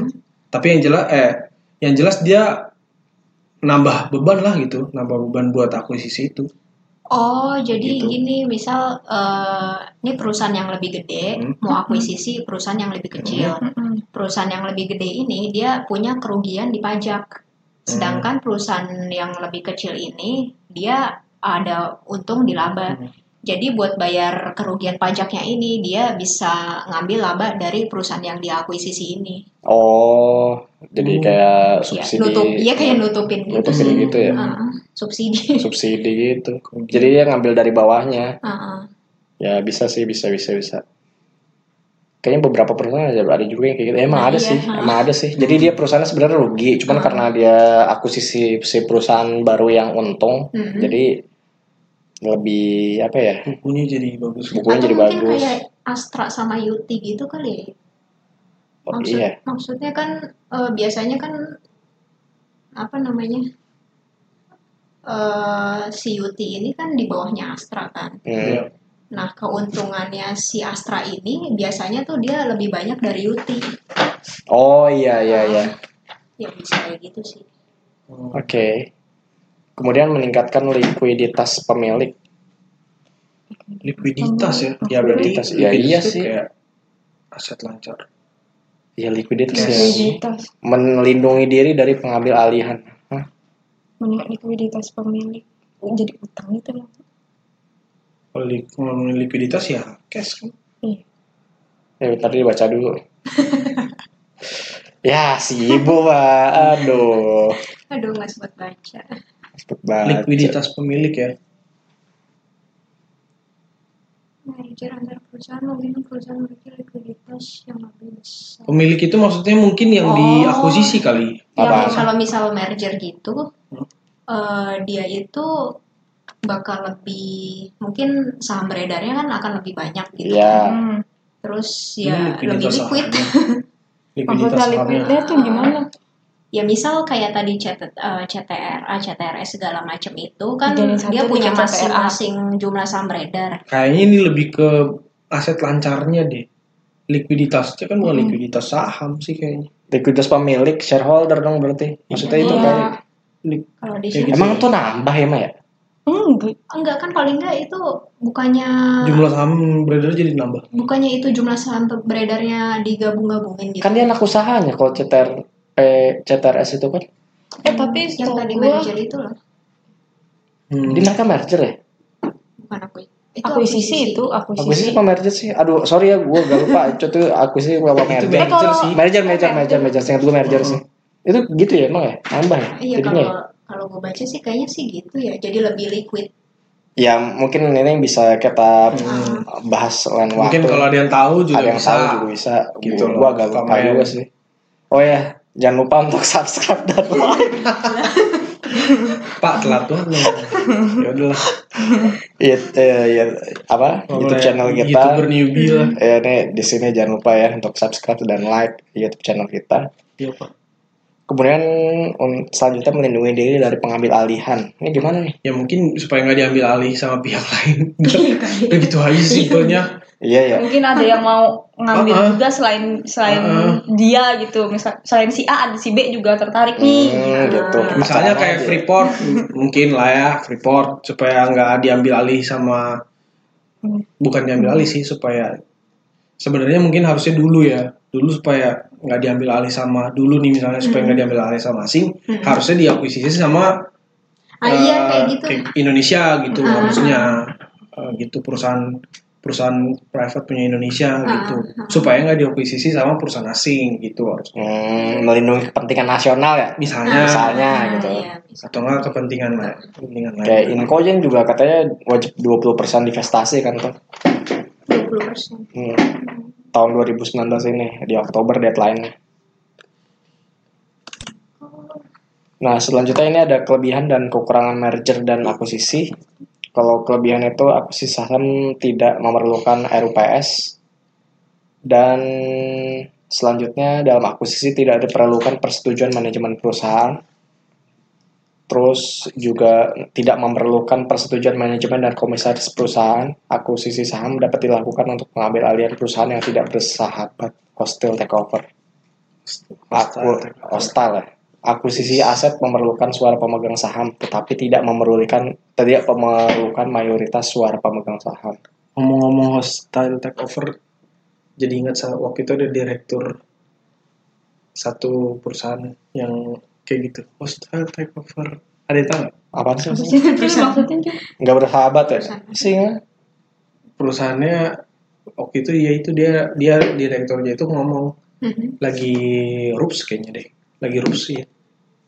[SPEAKER 2] tapi yang jelas eh yang jelas dia nambah beban lah gitu nambah beban buat akuisisi itu
[SPEAKER 3] Oh, jadi
[SPEAKER 2] Gitu.
[SPEAKER 3] gini, misal eh, ini perusahaan yang lebih gede
[SPEAKER 2] Hmm.
[SPEAKER 3] mau akuisisi perusahaan yang lebih kecil.
[SPEAKER 4] Mm-mm.
[SPEAKER 3] Perusahaan yang lebih gede ini dia punya kerugian di pajak.
[SPEAKER 1] Hmm.
[SPEAKER 3] Sedangkan perusahaan yang lebih kecil ini dia ada untung di laba.
[SPEAKER 2] Hmm.
[SPEAKER 3] Jadi buat bayar kerugian pajaknya ini dia bisa ngambil laba dari perusahaan yang diakuisisi ini.
[SPEAKER 1] Oh, jadi
[SPEAKER 2] Hmm.
[SPEAKER 1] kayak
[SPEAKER 3] Ya,
[SPEAKER 1] subsidi. Hmm.
[SPEAKER 3] nutup, iya kayak nutupin gitu
[SPEAKER 1] nutupin
[SPEAKER 3] sih.
[SPEAKER 1] gitu ya.
[SPEAKER 3] Ah, subsidi.
[SPEAKER 1] Subsidi gitu. Jadi dia ngambil dari bawahnya.
[SPEAKER 3] Ah, ah.
[SPEAKER 1] Ya bisa sih, bisa bisa bisa. Kayaknya beberapa perusahaan aja ada juga yang kayak gitu. Emang
[SPEAKER 3] Nah,
[SPEAKER 1] ada
[SPEAKER 3] iya,
[SPEAKER 1] sih,
[SPEAKER 3] ha. Ah.
[SPEAKER 1] emang ada sih. Jadi dia perusahaannya sebenarnya rugi, cuman
[SPEAKER 3] Ha.
[SPEAKER 1] karena dia akuisisi si perusahaan baru yang untung,
[SPEAKER 3] Mm-mm.
[SPEAKER 1] jadi lebih apa ya?
[SPEAKER 2] bukunya jadi bagus
[SPEAKER 1] Bukunya
[SPEAKER 3] Atau
[SPEAKER 1] jadi
[SPEAKER 3] mungkin
[SPEAKER 1] bagus.
[SPEAKER 3] kayak Astra sama Yuti gitu kali ya.
[SPEAKER 1] Oh,
[SPEAKER 3] Maksud-
[SPEAKER 1] iya.
[SPEAKER 3] Maksudnya kan eh, biasanya kan apa namanya eh si Yuti ini kan di bawahnya Astra kan.
[SPEAKER 1] Hmm.
[SPEAKER 2] Iya.
[SPEAKER 3] Nah keuntungannya si Astra ini biasanya tuh dia lebih banyak dari Yuti.
[SPEAKER 1] Oh iya iya iya.
[SPEAKER 3] Ya bisa kayak gitu sih.
[SPEAKER 2] Hmm.
[SPEAKER 1] Oke. Kemudian meningkatkan likuiditas pemilik.
[SPEAKER 3] Oh,
[SPEAKER 2] likuiditas ya ya berarti
[SPEAKER 1] Likuiditas, ya iya
[SPEAKER 2] itu
[SPEAKER 1] sih.
[SPEAKER 2] kayak aset lancar
[SPEAKER 1] Ya likuiditas
[SPEAKER 3] Iya
[SPEAKER 1] ya.
[SPEAKER 4] likuiditas
[SPEAKER 1] Melindungi diri dari pengambil alihan. Hah?
[SPEAKER 4] Menik- likuiditas pemilik jadi utang itu loh
[SPEAKER 2] kalau li- ngomongin likuiditas ya cash kan
[SPEAKER 1] Ya, tadi baca dulu. ya, si ibu, Pak. Aduh.
[SPEAKER 3] Aduh nggak sempat baca.
[SPEAKER 1] Cepet banget.
[SPEAKER 2] likuiditas pemilik ya
[SPEAKER 3] Nah,
[SPEAKER 5] manajer antar perusahaan mungkin perusahaan memiliki likuiditas yang lebih besar.
[SPEAKER 2] Pemilik itu maksudnya mungkin yang
[SPEAKER 3] Oh.
[SPEAKER 2] diakuisisi kali.
[SPEAKER 1] Apa? Hmm.
[SPEAKER 3] Yang kalau misal merger gitu, eh, dia itu bakal lebih mungkin saham beredarnya kan akan lebih banyak gitu.
[SPEAKER 1] Iya.
[SPEAKER 4] hmm.
[SPEAKER 3] Terus
[SPEAKER 2] Ini
[SPEAKER 3] ya lebih liquid.
[SPEAKER 2] Hmm, sahamnya. Likuiditas
[SPEAKER 4] maksudnya
[SPEAKER 2] sahamnya.
[SPEAKER 4] likuidnya tuh gimana
[SPEAKER 3] Ya misal kayak tadi CT, eh, CTRA, CTRS segala macam itu kan
[SPEAKER 4] Dijadiin satu
[SPEAKER 3] dia punya
[SPEAKER 4] dengan CTRA.
[SPEAKER 3] masing-masing jumlah saham beredar.
[SPEAKER 2] Kayaknya ini lebih ke aset lancarnya deh. Likuiditasnya kan
[SPEAKER 3] Hmm.
[SPEAKER 2] bukan likuiditas saham sih kayaknya.
[SPEAKER 1] Likuiditas pemilik, shareholder dong berarti. Maksudnya itu
[SPEAKER 3] Iya.
[SPEAKER 1] kayak.
[SPEAKER 2] Lik-
[SPEAKER 3] Kalau di
[SPEAKER 2] Kayak
[SPEAKER 3] sini
[SPEAKER 2] gitu.
[SPEAKER 1] Emang tuh nambah ya, Maya?
[SPEAKER 4] enggak
[SPEAKER 1] gitu.
[SPEAKER 3] enggak kan paling enggak itu bukannya
[SPEAKER 2] Jumlah saham beredar jadi nambah.
[SPEAKER 3] bukannya itu jumlah saham beredarnya digabung-gabungin gitu.
[SPEAKER 1] Kan dia anak usahanya kalau CTR, eh, CTRS itu kan.
[SPEAKER 4] eh tapi
[SPEAKER 3] yang
[SPEAKER 4] setahu
[SPEAKER 3] tadi
[SPEAKER 4] gua
[SPEAKER 3] merger itu loh,
[SPEAKER 2] Hmm.
[SPEAKER 1] Di mereka merger
[SPEAKER 3] Iya.
[SPEAKER 1] ya?
[SPEAKER 3] bukan aku. Itu
[SPEAKER 4] akuisisi itu
[SPEAKER 1] Akuisisi
[SPEAKER 4] akuisisi
[SPEAKER 1] apa merger sih? Aduh, sorry ya, gue gak lupa. Itu akuisisi apa
[SPEAKER 2] Itu
[SPEAKER 1] merger?
[SPEAKER 2] merger
[SPEAKER 4] Eh, kalau-
[SPEAKER 2] sih. Hmm.
[SPEAKER 1] Merger, merger, merger, merger. Seingat gue merger sih. Itu gitu ya emang ya? Nambah ya?
[SPEAKER 3] Iya
[SPEAKER 1] Jadinya ya?
[SPEAKER 3] kalau kalau gue baca sih kayaknya sih gitu ya. Jadi lebih liquid.
[SPEAKER 1] Ya, mungkin ini yang bisa kita
[SPEAKER 2] Hmm.
[SPEAKER 1] bahas lain waktu.
[SPEAKER 2] Mungkin kalau ada yang tahu juga
[SPEAKER 1] ada yang
[SPEAKER 2] bisa.
[SPEAKER 1] tahu juga bisa
[SPEAKER 2] Gitu
[SPEAKER 1] gitu
[SPEAKER 2] loh,
[SPEAKER 1] gua agak lupa
[SPEAKER 2] komen.
[SPEAKER 1] juga sih oh ya jangan lupa untuk subscribe dan like
[SPEAKER 2] Pak telat banget. ya udahlah.
[SPEAKER 1] It- eh, ya, apa YouTube
[SPEAKER 2] Ngomongin
[SPEAKER 1] channel kita
[SPEAKER 2] Gitu. ya. YouTuber newbie lah.
[SPEAKER 1] ya ini di sini jangan lupa ya untuk subscribe dan like YouTube channel kita
[SPEAKER 2] Iya, Pak.
[SPEAKER 1] kemudian un- selanjutnya melindungi diri dari pengambil alihan ini gimana nih
[SPEAKER 2] Ya mungkin supaya nggak diambil alih sama pihak lain. Udah gitu aja sih simpelnya.
[SPEAKER 1] iya ya
[SPEAKER 4] mungkin ada yang mau ngambil
[SPEAKER 2] Uh-uh.
[SPEAKER 4] juga selain selain
[SPEAKER 2] Uh-uh.
[SPEAKER 4] dia gitu misal selain si A ada si B juga tertarik nih
[SPEAKER 1] hmm,
[SPEAKER 3] Ah.
[SPEAKER 1] gitu
[SPEAKER 2] misalnya
[SPEAKER 1] Pacaran
[SPEAKER 2] kayak
[SPEAKER 1] aja.
[SPEAKER 2] Freeport m- mungkin lah ya Freeport supaya nggak diambil alih sama bukan diambil alih sih supaya sebenarnya mungkin harusnya dulu ya dulu supaya nggak diambil alih sama dulu nih misalnya supaya nggak diambil alih sama asing harusnya diakuisisi sama
[SPEAKER 3] Ah iya
[SPEAKER 2] eh,
[SPEAKER 3] kayak gitu. Ah.
[SPEAKER 2] kayak Indonesia gitu harusnya Eh, gitu perusahaan perusahaan private punya Indonesia
[SPEAKER 5] Ah,
[SPEAKER 2] gitu supaya nggak diakuisisi sama perusahaan asing gitu harus
[SPEAKER 1] Hmm, melindungi kepentingan nasional ya
[SPEAKER 2] misalnya
[SPEAKER 1] misalnya
[SPEAKER 3] Ah,
[SPEAKER 1] gitu
[SPEAKER 3] iya.
[SPEAKER 2] atau nggak kepentingan lain kepentingan lain
[SPEAKER 1] kayak Inkojen juga katanya wajib 20% divestasi kan tuh
[SPEAKER 5] 20%.
[SPEAKER 1] Hmm. tahun 2019 ini di Oktober deadline-nya. Nah, selanjutnya ini ada kelebihan dan kekurangan merger dan akuisisi. Kalau kelebihan itu akuisisi saham tidak memerlukan RUPS dan selanjutnya dalam akuisisi tidak diperlukan persetujuan manajemen perusahaan. Terus juga tidak memerlukan persetujuan manajemen dan komisaris perusahaan. Akuisisi saham dapat dilakukan untuk mengambil alihan perusahaan yang tidak bersahabat hostile takeover. Aku hostile ya. Akuisisi aset memerlukan suara pemegang saham, tetapi tidak memerlukan tidak memerlukan mayoritas suara pemegang saham.
[SPEAKER 2] ngomong-ngomong hostile takeover jadi ingat sa- waktu itu ada direktur satu perusahaan yang kayak gitu hostile takeover ada yang tahu nggak?
[SPEAKER 1] Apa sih?
[SPEAKER 4] Terus maksudnya
[SPEAKER 1] Nggak bersahabat ya? Sih nggak?
[SPEAKER 2] perusahaannya waktu itu ya itu dia dia direkturnya itu ngomong lagi rups kayaknya deh lagi rups ya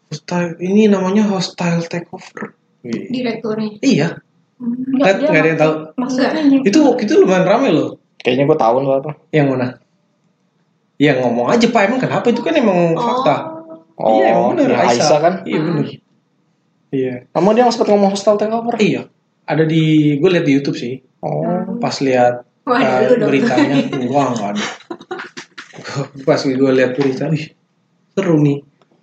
[SPEAKER 2] hostile ini namanya hostile takeover Wih.
[SPEAKER 5] Direkturnya.
[SPEAKER 2] iya
[SPEAKER 4] Enggak,
[SPEAKER 2] Nggak- nggak ada yang tahu
[SPEAKER 6] iya.
[SPEAKER 4] Maksudnya
[SPEAKER 1] Iya.
[SPEAKER 4] gimana?
[SPEAKER 2] itu waktu itu lumayan rame loh
[SPEAKER 1] Kayaknya gue tahu loh apa.
[SPEAKER 2] yang mana ya ngomong aja pak emang kenapa itu kan emang fakta
[SPEAKER 1] Oh,
[SPEAKER 2] iya, emang
[SPEAKER 1] yang
[SPEAKER 2] bener.
[SPEAKER 1] Aisyah. kan?
[SPEAKER 2] Iya bener. Iya.
[SPEAKER 1] Namun dia yang sempat ngomong hostile takeover.
[SPEAKER 2] Iya. Ada di, gue liat di YouTube sih.
[SPEAKER 1] Oh,
[SPEAKER 2] Pas liat
[SPEAKER 3] Oh,
[SPEAKER 5] Wah,
[SPEAKER 2] eh,
[SPEAKER 5] dulu dong.
[SPEAKER 2] beritanya, wah nggak ada. Pas gue liat berita, wih seru nih.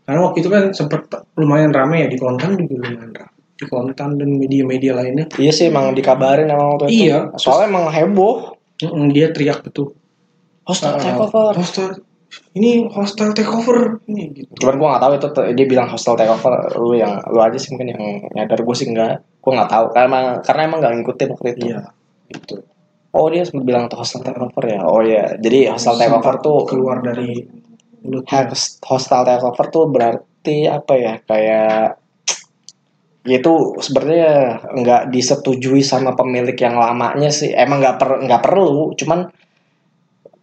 [SPEAKER 2] Karena waktu itu kan sempet lumayan rame ya di konten juga lumayan rame. Di konten dan media-media lainnya.
[SPEAKER 1] iya sih emang dikabarin emang waktu itu.
[SPEAKER 2] Iya.
[SPEAKER 1] Soalnya emang heboh.
[SPEAKER 2] Mm-mm, Dia teriak betul.
[SPEAKER 1] Hostile
[SPEAKER 2] Eh,
[SPEAKER 1] takeover.
[SPEAKER 2] Hostile, ini hostile takeover. Ini gitu.
[SPEAKER 1] Cuman gue nggak tahu itu te- dia bilang hostile takeover lu yang lu aja sih mungkin yang nyadar gue sih nggak gue nggak tahu karena emang karena emang nggak ngikutin waktu itu.
[SPEAKER 2] Iya. Gitu.
[SPEAKER 1] Oh dia sempat bilang tuh hostile takeover ya. Oh iya jadi hostile takeover
[SPEAKER 2] Sempat
[SPEAKER 1] tuh
[SPEAKER 2] keluar dari mulut
[SPEAKER 1] Host- hostile takeover tuh berarti apa ya kayak ya itu sebenarnya nggak disetujui sama pemilik yang lamanya sih emang nggak per nggak perlu cuman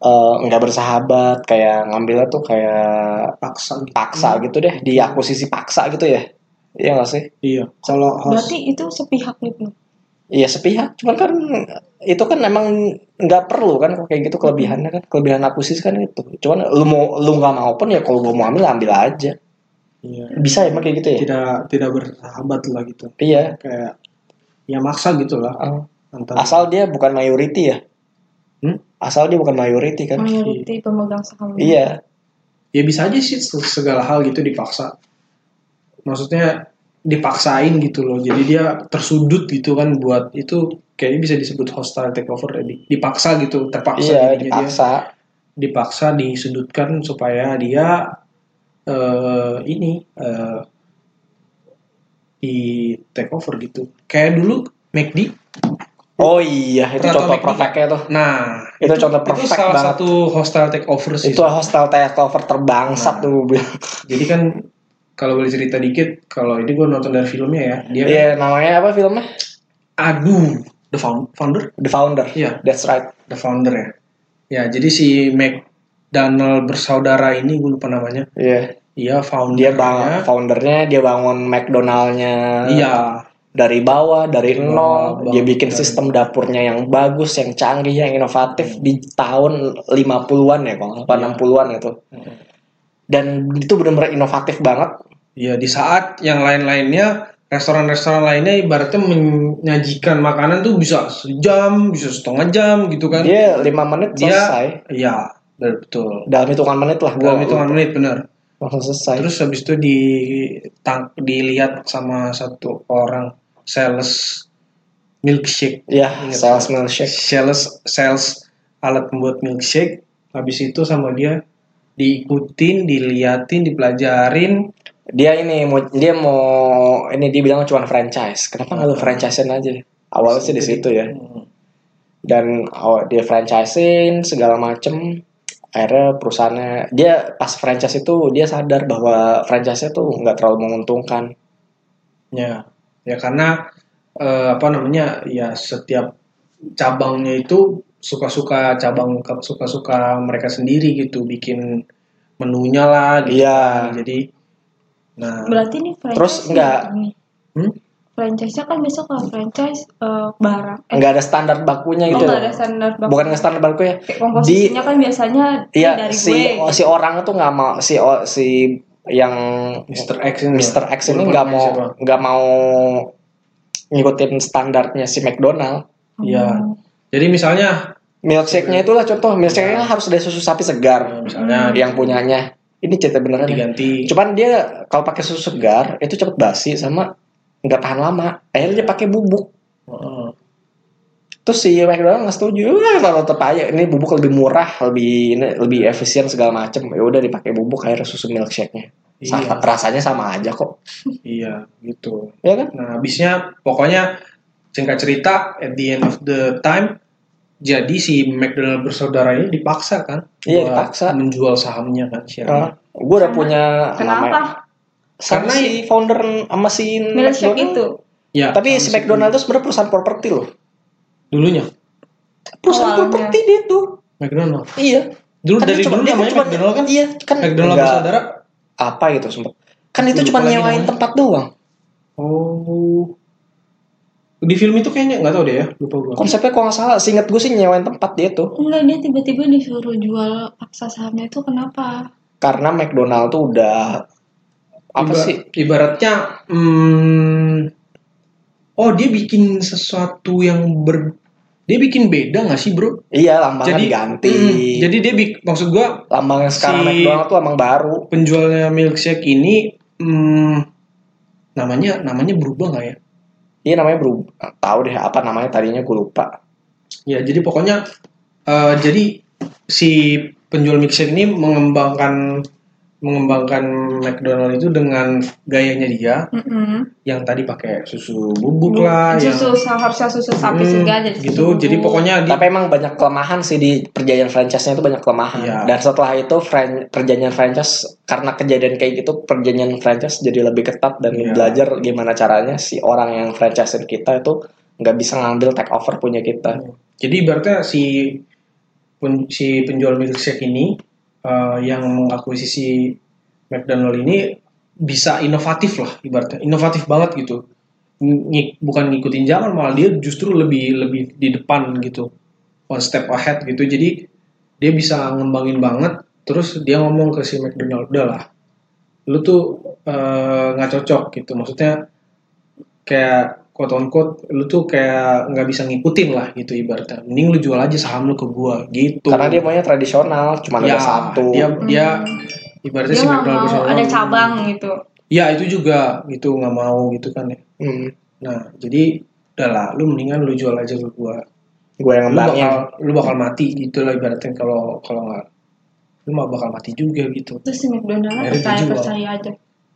[SPEAKER 1] eh, nggak bersahabat kayak ngambilnya tuh kayak
[SPEAKER 2] paksa gitu.
[SPEAKER 1] paksa gitu deh di akuisisi paksa gitu ya iya nggak sih
[SPEAKER 2] Iya. Kalau host
[SPEAKER 4] Berarti itu sepihak gitu.
[SPEAKER 1] Iya sepihak, cuman kan itu kan emang nggak perlu kan kalau kayak gitu kelebihannya kan kelebihan akuisisi kan itu. Cuman lu mau lu nggak mau pun ya kalau gua mau ambil ambil aja.
[SPEAKER 2] Iya.
[SPEAKER 1] Bisa emang kayak gitu ya?
[SPEAKER 2] tidak tidak bersahabat lah gitu
[SPEAKER 1] Iya.
[SPEAKER 2] kayak ya maksa gitu lah
[SPEAKER 1] Eh,
[SPEAKER 2] antara
[SPEAKER 1] Asal dia bukan mayoriti ya.
[SPEAKER 2] Hmm?
[SPEAKER 1] Asal dia bukan mayoriti kan.
[SPEAKER 4] Mayoritas pemegang saham.
[SPEAKER 1] Iya.
[SPEAKER 2] ya bisa aja sih se- segala hal gitu dipaksa maksudnya dipaksain gitu loh jadi dia tersudut gitu kan buat itu kayaknya bisa disebut hostile takeover ya, di- dipaksa gitu terpaksa
[SPEAKER 1] iya
[SPEAKER 2] jadinya dia
[SPEAKER 1] dipaksa.
[SPEAKER 2] dipaksa disudutkan supaya dia eh ini eh di takeover gitu kayak dulu McD
[SPEAKER 1] Oh iya itu
[SPEAKER 2] Peraturan
[SPEAKER 1] contoh
[SPEAKER 2] McD.
[SPEAKER 1] perfectnya tuh.
[SPEAKER 2] Nah,
[SPEAKER 1] Itu contoh
[SPEAKER 2] itu
[SPEAKER 1] perfect
[SPEAKER 2] salah
[SPEAKER 1] banget.
[SPEAKER 2] satu hostile takeover sih.
[SPEAKER 1] Itu ah. hostile takeover terbangsat
[SPEAKER 2] Nah.
[SPEAKER 1] tuh gua bilang.
[SPEAKER 2] Jadi kan kalau boleh cerita dikit, kalau ini gue nonton dari filmnya ya, dia
[SPEAKER 1] Iya namanya apa filmnya?
[SPEAKER 2] aduh the found- founder,
[SPEAKER 1] The Founder.
[SPEAKER 2] Iya.
[SPEAKER 1] That's right.
[SPEAKER 2] the founder ya. Ya, jadi si McDonald bersaudara ini gue lupa namanya.
[SPEAKER 1] Iya.
[SPEAKER 2] Dia founder.
[SPEAKER 1] dia bang foundernya dia bangun McDonaldnya
[SPEAKER 2] Iya,
[SPEAKER 1] dari bawah dari
[SPEAKER 2] Dari
[SPEAKER 1] nol
[SPEAKER 2] bawah,
[SPEAKER 1] dia
[SPEAKER 2] bangun
[SPEAKER 1] bikin
[SPEAKER 2] dari-
[SPEAKER 1] sistem dapurnya yang bagus yang canggih yang
[SPEAKER 2] Hmm.
[SPEAKER 1] inovatif di tahun 50-an ya kalau
[SPEAKER 2] Iya.
[SPEAKER 1] nggak salah, 60-an gitu dan itu benar-benar inovatif banget
[SPEAKER 2] iya di saat yang lain-lainnya restoran-restoran lainnya ibaratnya menyajikan makanan tuh bisa sejam, bisa setengah jam gitu kan.
[SPEAKER 1] dia 5 menit
[SPEAKER 2] Dia-
[SPEAKER 1] selesai
[SPEAKER 2] Iya, betul.
[SPEAKER 1] dalam hitungan menit lah gua-
[SPEAKER 2] Dalam hitungan menit bener.
[SPEAKER 1] langsung selesai
[SPEAKER 2] Terus habis itu di tang- dilihat sama satu orang sales milkshake,
[SPEAKER 1] ya
[SPEAKER 2] Ingat.
[SPEAKER 1] sales milkshake
[SPEAKER 2] sales sales alat membuat milkshake. Habis itu sama dia diikutin, diliatin, dipelajarin.
[SPEAKER 1] dia ini mau dia mau ini dia bilang cuma franchise kenapa nggak lu franchisein aja awalnya sih di situ ya
[SPEAKER 2] Hmm.
[SPEAKER 1] dan aw- dia franchisein segala macem akhirnya perusahaannya dia pas franchise itu dia sadar bahwa franchise itu nggak terlalu menguntungkan
[SPEAKER 2] Ya, ya karena eh, apa namanya ya setiap cabangnya itu suka-suka cabang suka-suka mereka sendiri gitu bikin menunya lah gitu.
[SPEAKER 1] Iya.
[SPEAKER 2] Jadi nah
[SPEAKER 6] Berarti nih franchise
[SPEAKER 1] Terus enggak-
[SPEAKER 6] gitu nih.
[SPEAKER 2] Hmm?
[SPEAKER 6] Franchise-nya kan biasa kalau franchise eh, barang. Eh,
[SPEAKER 1] nggak ada standar bakunya
[SPEAKER 6] oh,
[SPEAKER 1] gitu
[SPEAKER 6] nggak
[SPEAKER 1] loh.
[SPEAKER 6] ada standar bak-
[SPEAKER 1] bukan nggak standar bakunya
[SPEAKER 6] Kayak komposisinya kan biasanya ini
[SPEAKER 1] iya
[SPEAKER 6] dari
[SPEAKER 1] si
[SPEAKER 6] gue.
[SPEAKER 1] si orang tuh nggak mau si si yang
[SPEAKER 2] Mr. X ini.
[SPEAKER 1] Mr. X ini
[SPEAKER 2] Walaupun
[SPEAKER 1] nggak
[SPEAKER 2] namanya
[SPEAKER 1] mau
[SPEAKER 2] siapa.
[SPEAKER 1] nggak mau ngikutin standarnya si McDonald
[SPEAKER 2] Iya.
[SPEAKER 6] Hmm.
[SPEAKER 2] Jadi misalnya
[SPEAKER 1] milkshake-nya itulah contoh milkshake-nya harus ada susu sapi segar
[SPEAKER 2] misalnya
[SPEAKER 1] yang punyanya ini cerita beneran ya.
[SPEAKER 2] diganti
[SPEAKER 1] cuman dia kalau pakai susu segar itu cepet basi sama nggak tahan lama akhirnya dia pakai bubuk
[SPEAKER 2] Heeh.
[SPEAKER 1] terus si McDonald nggak setuju "Wah, kalau tetap aja ini bubuk lebih murah lebih ini, lebih efisien segala macem ya udah dipakai bubuk akhirnya susu milkshake-nya Sama-
[SPEAKER 2] Iya,
[SPEAKER 1] rasanya sama aja kok
[SPEAKER 2] iya gitu.
[SPEAKER 1] ya kan
[SPEAKER 2] Nah, habisnya pokoknya singkat cerita at the end of the time jadi si McDonald bersaudara ini dipaksa kan?
[SPEAKER 1] Iya,
[SPEAKER 2] buat
[SPEAKER 1] dipaksa.
[SPEAKER 2] menjual sahamnya
[SPEAKER 1] Nah,
[SPEAKER 2] kan siapa?
[SPEAKER 1] gue udah
[SPEAKER 6] Karena-
[SPEAKER 1] punya
[SPEAKER 6] Kenapa?
[SPEAKER 1] sama
[SPEAKER 2] Karena-
[SPEAKER 1] si founder sama si
[SPEAKER 6] Milkshake
[SPEAKER 1] McDonald.
[SPEAKER 6] itu.
[SPEAKER 2] Ya,
[SPEAKER 1] tapi
[SPEAKER 2] sama
[SPEAKER 1] si McDonald itu sebenarnya perusahaan properti loh
[SPEAKER 2] dulunya
[SPEAKER 1] perusahaan
[SPEAKER 6] Awalnya.
[SPEAKER 1] properti dia tuh
[SPEAKER 2] McDonald.
[SPEAKER 1] iya
[SPEAKER 2] Dulu
[SPEAKER 1] Kan
[SPEAKER 2] dari
[SPEAKER 1] dia cuma-
[SPEAKER 2] dulu
[SPEAKER 1] dia
[SPEAKER 2] namanya
[SPEAKER 1] cuma-
[SPEAKER 2] McDonald kan?
[SPEAKER 1] iya kan
[SPEAKER 2] McDonald
[SPEAKER 1] nggak-
[SPEAKER 2] bersaudara.
[SPEAKER 1] apa gitu sempet kan itu
[SPEAKER 2] Lupa
[SPEAKER 1] cuma
[SPEAKER 2] lagi
[SPEAKER 1] nyewain
[SPEAKER 2] Iya, namanya.
[SPEAKER 1] tempat doang
[SPEAKER 2] Oh. Di film itu kayaknya nggak tahu deh ya, lupa gua.
[SPEAKER 1] konsepnya kalau nggak salah seinget gue sih nyewain tempat dia tuh
[SPEAKER 3] Enggak, dia tiba-tiba disuruh jual paksa sahamnya itu kenapa?
[SPEAKER 1] karena McDonald tuh udah apa
[SPEAKER 2] Iba-
[SPEAKER 1] sih
[SPEAKER 2] Ibaratnya, hmm, oh dia bikin sesuatu yang ber, dia bikin beda nggak sih bro?
[SPEAKER 1] iya lambangnya diganti
[SPEAKER 2] Mm, jadi dia bik- maksud gua
[SPEAKER 1] lambang yang sekarang
[SPEAKER 2] si-
[SPEAKER 1] McDonald tuh lambang baru
[SPEAKER 2] penjualnya milkshake ini, mm, namanya namanya berubah nggak ya?
[SPEAKER 1] iya namanya berubah tahu deh apa namanya tadinya gue lupa
[SPEAKER 2] Ya jadi pokoknya, eh, jadi si penjual milkshake ini mengembangkan mengembangkan McDonald itu dengan gayanya dia
[SPEAKER 6] Mm-mm.
[SPEAKER 2] yang tadi pakai susu bubuk lah, yang
[SPEAKER 6] Hmm, susu seharusnya susu sapi
[SPEAKER 2] Mm,
[SPEAKER 6] segar jadi susu
[SPEAKER 2] gitu. Jadi
[SPEAKER 6] bubuk.
[SPEAKER 2] pokoknya dia
[SPEAKER 1] tapi emang banyak kelemahan sih di perjanjian franchise-nya itu banyak kelemahan
[SPEAKER 2] Iya.
[SPEAKER 1] dan setelah itu fran- perjanjian franchise karena kejadian kayak gitu perjanjian franchise jadi lebih ketat dan
[SPEAKER 2] Iya.
[SPEAKER 1] belajar gimana caranya si orang yang franchise kita itu nggak bisa ngambil take over punya kita
[SPEAKER 2] Jadi ibaratnya si pen- si penjual milkshake ini eh, yang mengakuisisi McDonald ini bisa inovatif lah ibaratnya, inovatif banget gitu. Ngi- bukan ngikutin zaman malah dia justru lebih lebih di depan gitu. One step ahead gitu. Jadi dia bisa ngembangin banget terus dia ngomong ke si McDonald udah lah lu tuh eh, nggak cocok gitu maksudnya kayak quote on quote lu tuh kayak nggak bisa ngikutin lah gitu ibaratnya mending lu jual aja saham lu ke gua gitu
[SPEAKER 1] karena dia maunya tradisional cuma
[SPEAKER 2] ya,
[SPEAKER 1] ada satu
[SPEAKER 2] dia dia ibaratnya
[SPEAKER 6] Hmm. dia
[SPEAKER 2] si
[SPEAKER 6] nggak
[SPEAKER 2] McDonald
[SPEAKER 6] mau
[SPEAKER 2] bersama-
[SPEAKER 6] ada cabang gitu.
[SPEAKER 2] ya itu juga gitu nggak mau gitu kan ya
[SPEAKER 1] Hmm,
[SPEAKER 2] nah jadi udah lah lu mendingan lu jual aja ke gua
[SPEAKER 1] gue yang
[SPEAKER 2] lu bakal
[SPEAKER 1] ngembangin
[SPEAKER 2] lu bakal mati gitu lah ibaratnya kalau kalau nggak lu mah bakal mati juga gitu Eh,
[SPEAKER 6] Terus si McDonald
[SPEAKER 2] Akhirnya
[SPEAKER 6] percaya
[SPEAKER 2] dijual.
[SPEAKER 6] percaya aja.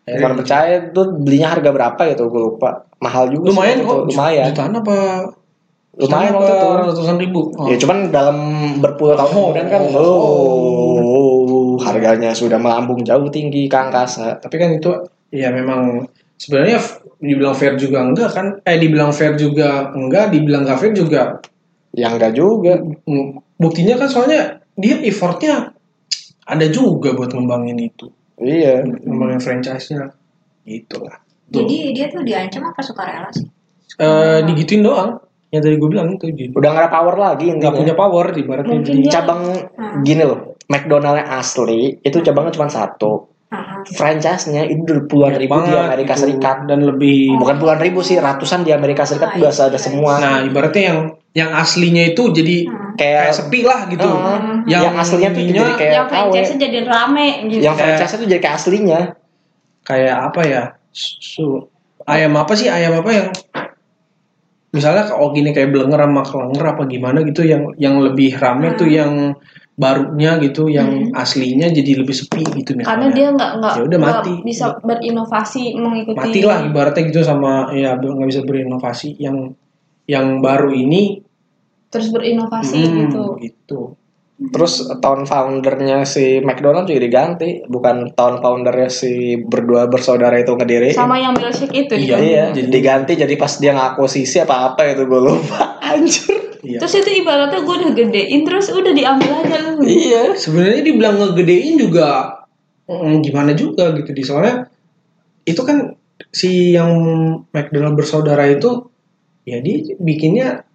[SPEAKER 1] bukan percaya tuh belinya harga berapa gitu gue lupa mahal juga sih
[SPEAKER 2] lumayan
[SPEAKER 1] waktu itu,
[SPEAKER 2] kok
[SPEAKER 1] lumayan
[SPEAKER 2] jutaan apa
[SPEAKER 1] lumayan
[SPEAKER 2] jutaan
[SPEAKER 1] waktu
[SPEAKER 2] apa
[SPEAKER 1] itu
[SPEAKER 2] ratusan ribu Oh.
[SPEAKER 1] ya cuman dalam berpuluh tahun
[SPEAKER 2] Oh,
[SPEAKER 1] kemudian kan
[SPEAKER 2] oh,
[SPEAKER 1] oh,
[SPEAKER 2] oh.
[SPEAKER 1] harganya sudah melambung jauh tinggi ke angkasa
[SPEAKER 2] tapi kan itu ya memang sebenarnya f- dibilang fair juga enggak kan eh dibilang fair juga enggak dibilang nggak fair juga
[SPEAKER 1] yang enggak Ya, juga
[SPEAKER 2] Mm, buktinya kan soalnya dia effortnya ada juga buat ngembangin itu
[SPEAKER 1] iya
[SPEAKER 2] ngembangin franchise-nya gitulah
[SPEAKER 5] Jadi dia tuh diancam apa suka rela sih?
[SPEAKER 2] Eh digituin doang yang tadi gue bilang itu jadi
[SPEAKER 1] udah nggak ada power lagi
[SPEAKER 2] nggak
[SPEAKER 1] intinya.
[SPEAKER 2] punya power di barat
[SPEAKER 6] Mungkin
[SPEAKER 2] ini
[SPEAKER 6] dia-
[SPEAKER 1] cabang gini loh McDonald yang asli itu cabangnya cuma satu
[SPEAKER 5] Ah,
[SPEAKER 1] franchise-nya itu udah puluhan ribu di Amerika Serikat
[SPEAKER 2] gitu. dan lebih
[SPEAKER 1] bukan puluhan ribu sih ratusan di Amerika
[SPEAKER 5] Nice,
[SPEAKER 1] Serikat udah ada
[SPEAKER 5] nice.
[SPEAKER 1] semua
[SPEAKER 2] Nah, ibaratnya yang yang aslinya itu jadi
[SPEAKER 6] Hmm.
[SPEAKER 2] kayak
[SPEAKER 1] kayak Ah.
[SPEAKER 2] sepi lah gitu.
[SPEAKER 1] Heeh. yang, aslinya tuh
[SPEAKER 2] ininya
[SPEAKER 1] jadi kayak
[SPEAKER 6] yang
[SPEAKER 1] KW.
[SPEAKER 6] franchise
[SPEAKER 2] ya.
[SPEAKER 6] jadi Hmm. rame gitu.
[SPEAKER 1] yang franchise tuh jadi kayak aslinya
[SPEAKER 2] kayak apa ya? Su ayam apa sih? Ayam apa yang misalnya kalau gini kayak belenger sama kelenger apa gimana gitu yang yang lebih rame tuh
[SPEAKER 6] Hmm.
[SPEAKER 2] yang barunya gitu, yang aslinya jadi lebih sepi gitu
[SPEAKER 6] Karena
[SPEAKER 2] misalnya.
[SPEAKER 6] dia nggak nggak
[SPEAKER 2] Ya udah
[SPEAKER 6] nggak
[SPEAKER 2] mati.
[SPEAKER 6] bisa berinovasi mengikuti.
[SPEAKER 2] mati lah ibaratnya gitu sama ya nggak bisa berinovasi yang yang baru ini
[SPEAKER 6] Terus berinovasi
[SPEAKER 2] hmm,
[SPEAKER 6] gitu.
[SPEAKER 2] gitu.
[SPEAKER 1] Terus tahun foundernya si McDonald juga diganti, bukan tahun foundernya si berdua bersaudara itu ngediri.
[SPEAKER 6] Sama yang milkshake itu.
[SPEAKER 2] Eh. Iya.
[SPEAKER 6] gitu.
[SPEAKER 1] iya,
[SPEAKER 2] Jadi-
[SPEAKER 1] jadi diganti jadi pas dia ngaku sisi apa apa itu gue lupa. Anjir.
[SPEAKER 2] Iya.
[SPEAKER 6] Terus itu ibaratnya gue udah gedein terus udah diambil aja lu.
[SPEAKER 2] Iya, sebenarnya dibilang ngegedein juga mm, gimana juga gitu di soalnya itu kan si yang McDonald bersaudara itu ya dia bikinnya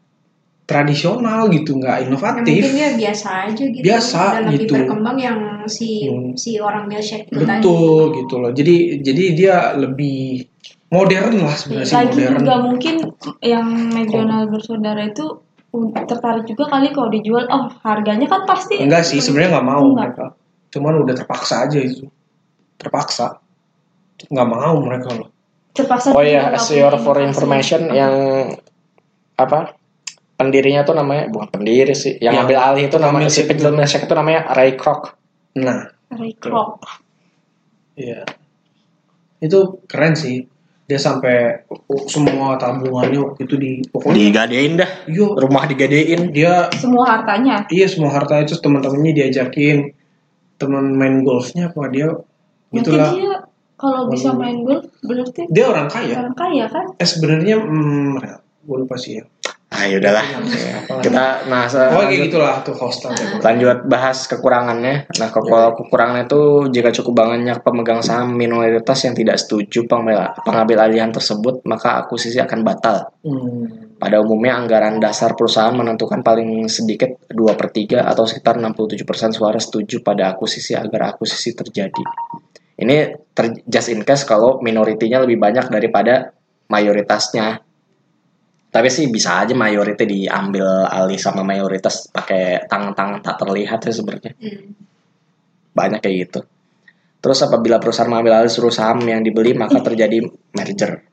[SPEAKER 2] tradisional gitu
[SPEAKER 5] Ya,
[SPEAKER 2] nggak
[SPEAKER 5] mungkin
[SPEAKER 2] inovatif
[SPEAKER 5] dia biasa aja gitu.
[SPEAKER 2] Biasa
[SPEAKER 5] Dan lebih
[SPEAKER 2] gitu.
[SPEAKER 5] berkembang yang si
[SPEAKER 2] Hmm.
[SPEAKER 5] si orang milkshake itu tadi.
[SPEAKER 2] betul gitu loh jadi jadi dia lebih modern lah sebenarnya sih
[SPEAKER 6] Lagi
[SPEAKER 2] modern
[SPEAKER 6] juga mungkin yang McDonald bersaudara itu tertarik juga kali kalau dijual. Oh harganya kan pasti.
[SPEAKER 2] enggak sih sebenarnya nggak mau
[SPEAKER 6] Enggak.
[SPEAKER 2] mereka cuman udah terpaksa aja itu terpaksa nggak mau mereka loh
[SPEAKER 6] Terpaksa.
[SPEAKER 1] Oh
[SPEAKER 6] dia
[SPEAKER 1] iya,
[SPEAKER 6] ngelakuin
[SPEAKER 1] as your for
[SPEAKER 6] inovasi.
[SPEAKER 1] information yang apa? Pendirinya tuh namanya bukan pendiri sih, yang
[SPEAKER 2] Yang
[SPEAKER 1] ambil alih itu namanya si
[SPEAKER 2] milkshake
[SPEAKER 1] penjual
[SPEAKER 2] itu.
[SPEAKER 1] milkshake itu namanya Ray Kroc.
[SPEAKER 2] nah
[SPEAKER 6] Ray Kroc.
[SPEAKER 2] Iya. Itu keren sih. Dia sampai semua tabungannya waktu itu di pokoknya
[SPEAKER 1] Digadein dah,
[SPEAKER 2] iya,
[SPEAKER 1] rumah digadein.
[SPEAKER 2] dia
[SPEAKER 6] Semua hartanya.
[SPEAKER 2] iya semua harta itu teman-temannya diajakin teman main golfnya apa dia
[SPEAKER 6] Mungkin
[SPEAKER 2] gitulah.
[SPEAKER 6] dia kalau bisa
[SPEAKER 2] Hmm.
[SPEAKER 6] main golf berarti
[SPEAKER 2] Dia orang kaya.
[SPEAKER 6] orang kaya kan?
[SPEAKER 2] Eh sebenarnya hmm, gue lupa sih ya.
[SPEAKER 1] Ah udahlah. Kita nah se-
[SPEAKER 2] Pokoknya
[SPEAKER 1] lanjut,
[SPEAKER 2] kayak gitu. gitulah tuh hostel.
[SPEAKER 3] Ah.
[SPEAKER 1] lanjut bahas kekurangannya. Nah, ke- kalau kekurangannya itu jika cukup banyak pemegang saham minoritas yang tidak setuju pengambil, pengambil alihan tersebut, maka akuisisi akan batal.
[SPEAKER 2] Hmm.
[SPEAKER 1] Pada umumnya anggaran dasar perusahaan menentukan paling sedikit 2 per 3 atau sekitar 67% suara setuju pada akuisisi agar akuisisi terjadi. Ini ter- just in case kalau minoritinya lebih banyak daripada mayoritasnya. Tapi sih bisa aja mayoriti diambil alih sama mayoritas pakai tangan-tangan tak terlihat sih sebenarnya
[SPEAKER 5] Hmm.
[SPEAKER 1] banyak kayak gitu. Terus apabila perusahaan mengambil alih seluruh saham yang dibeli maka terjadi merger.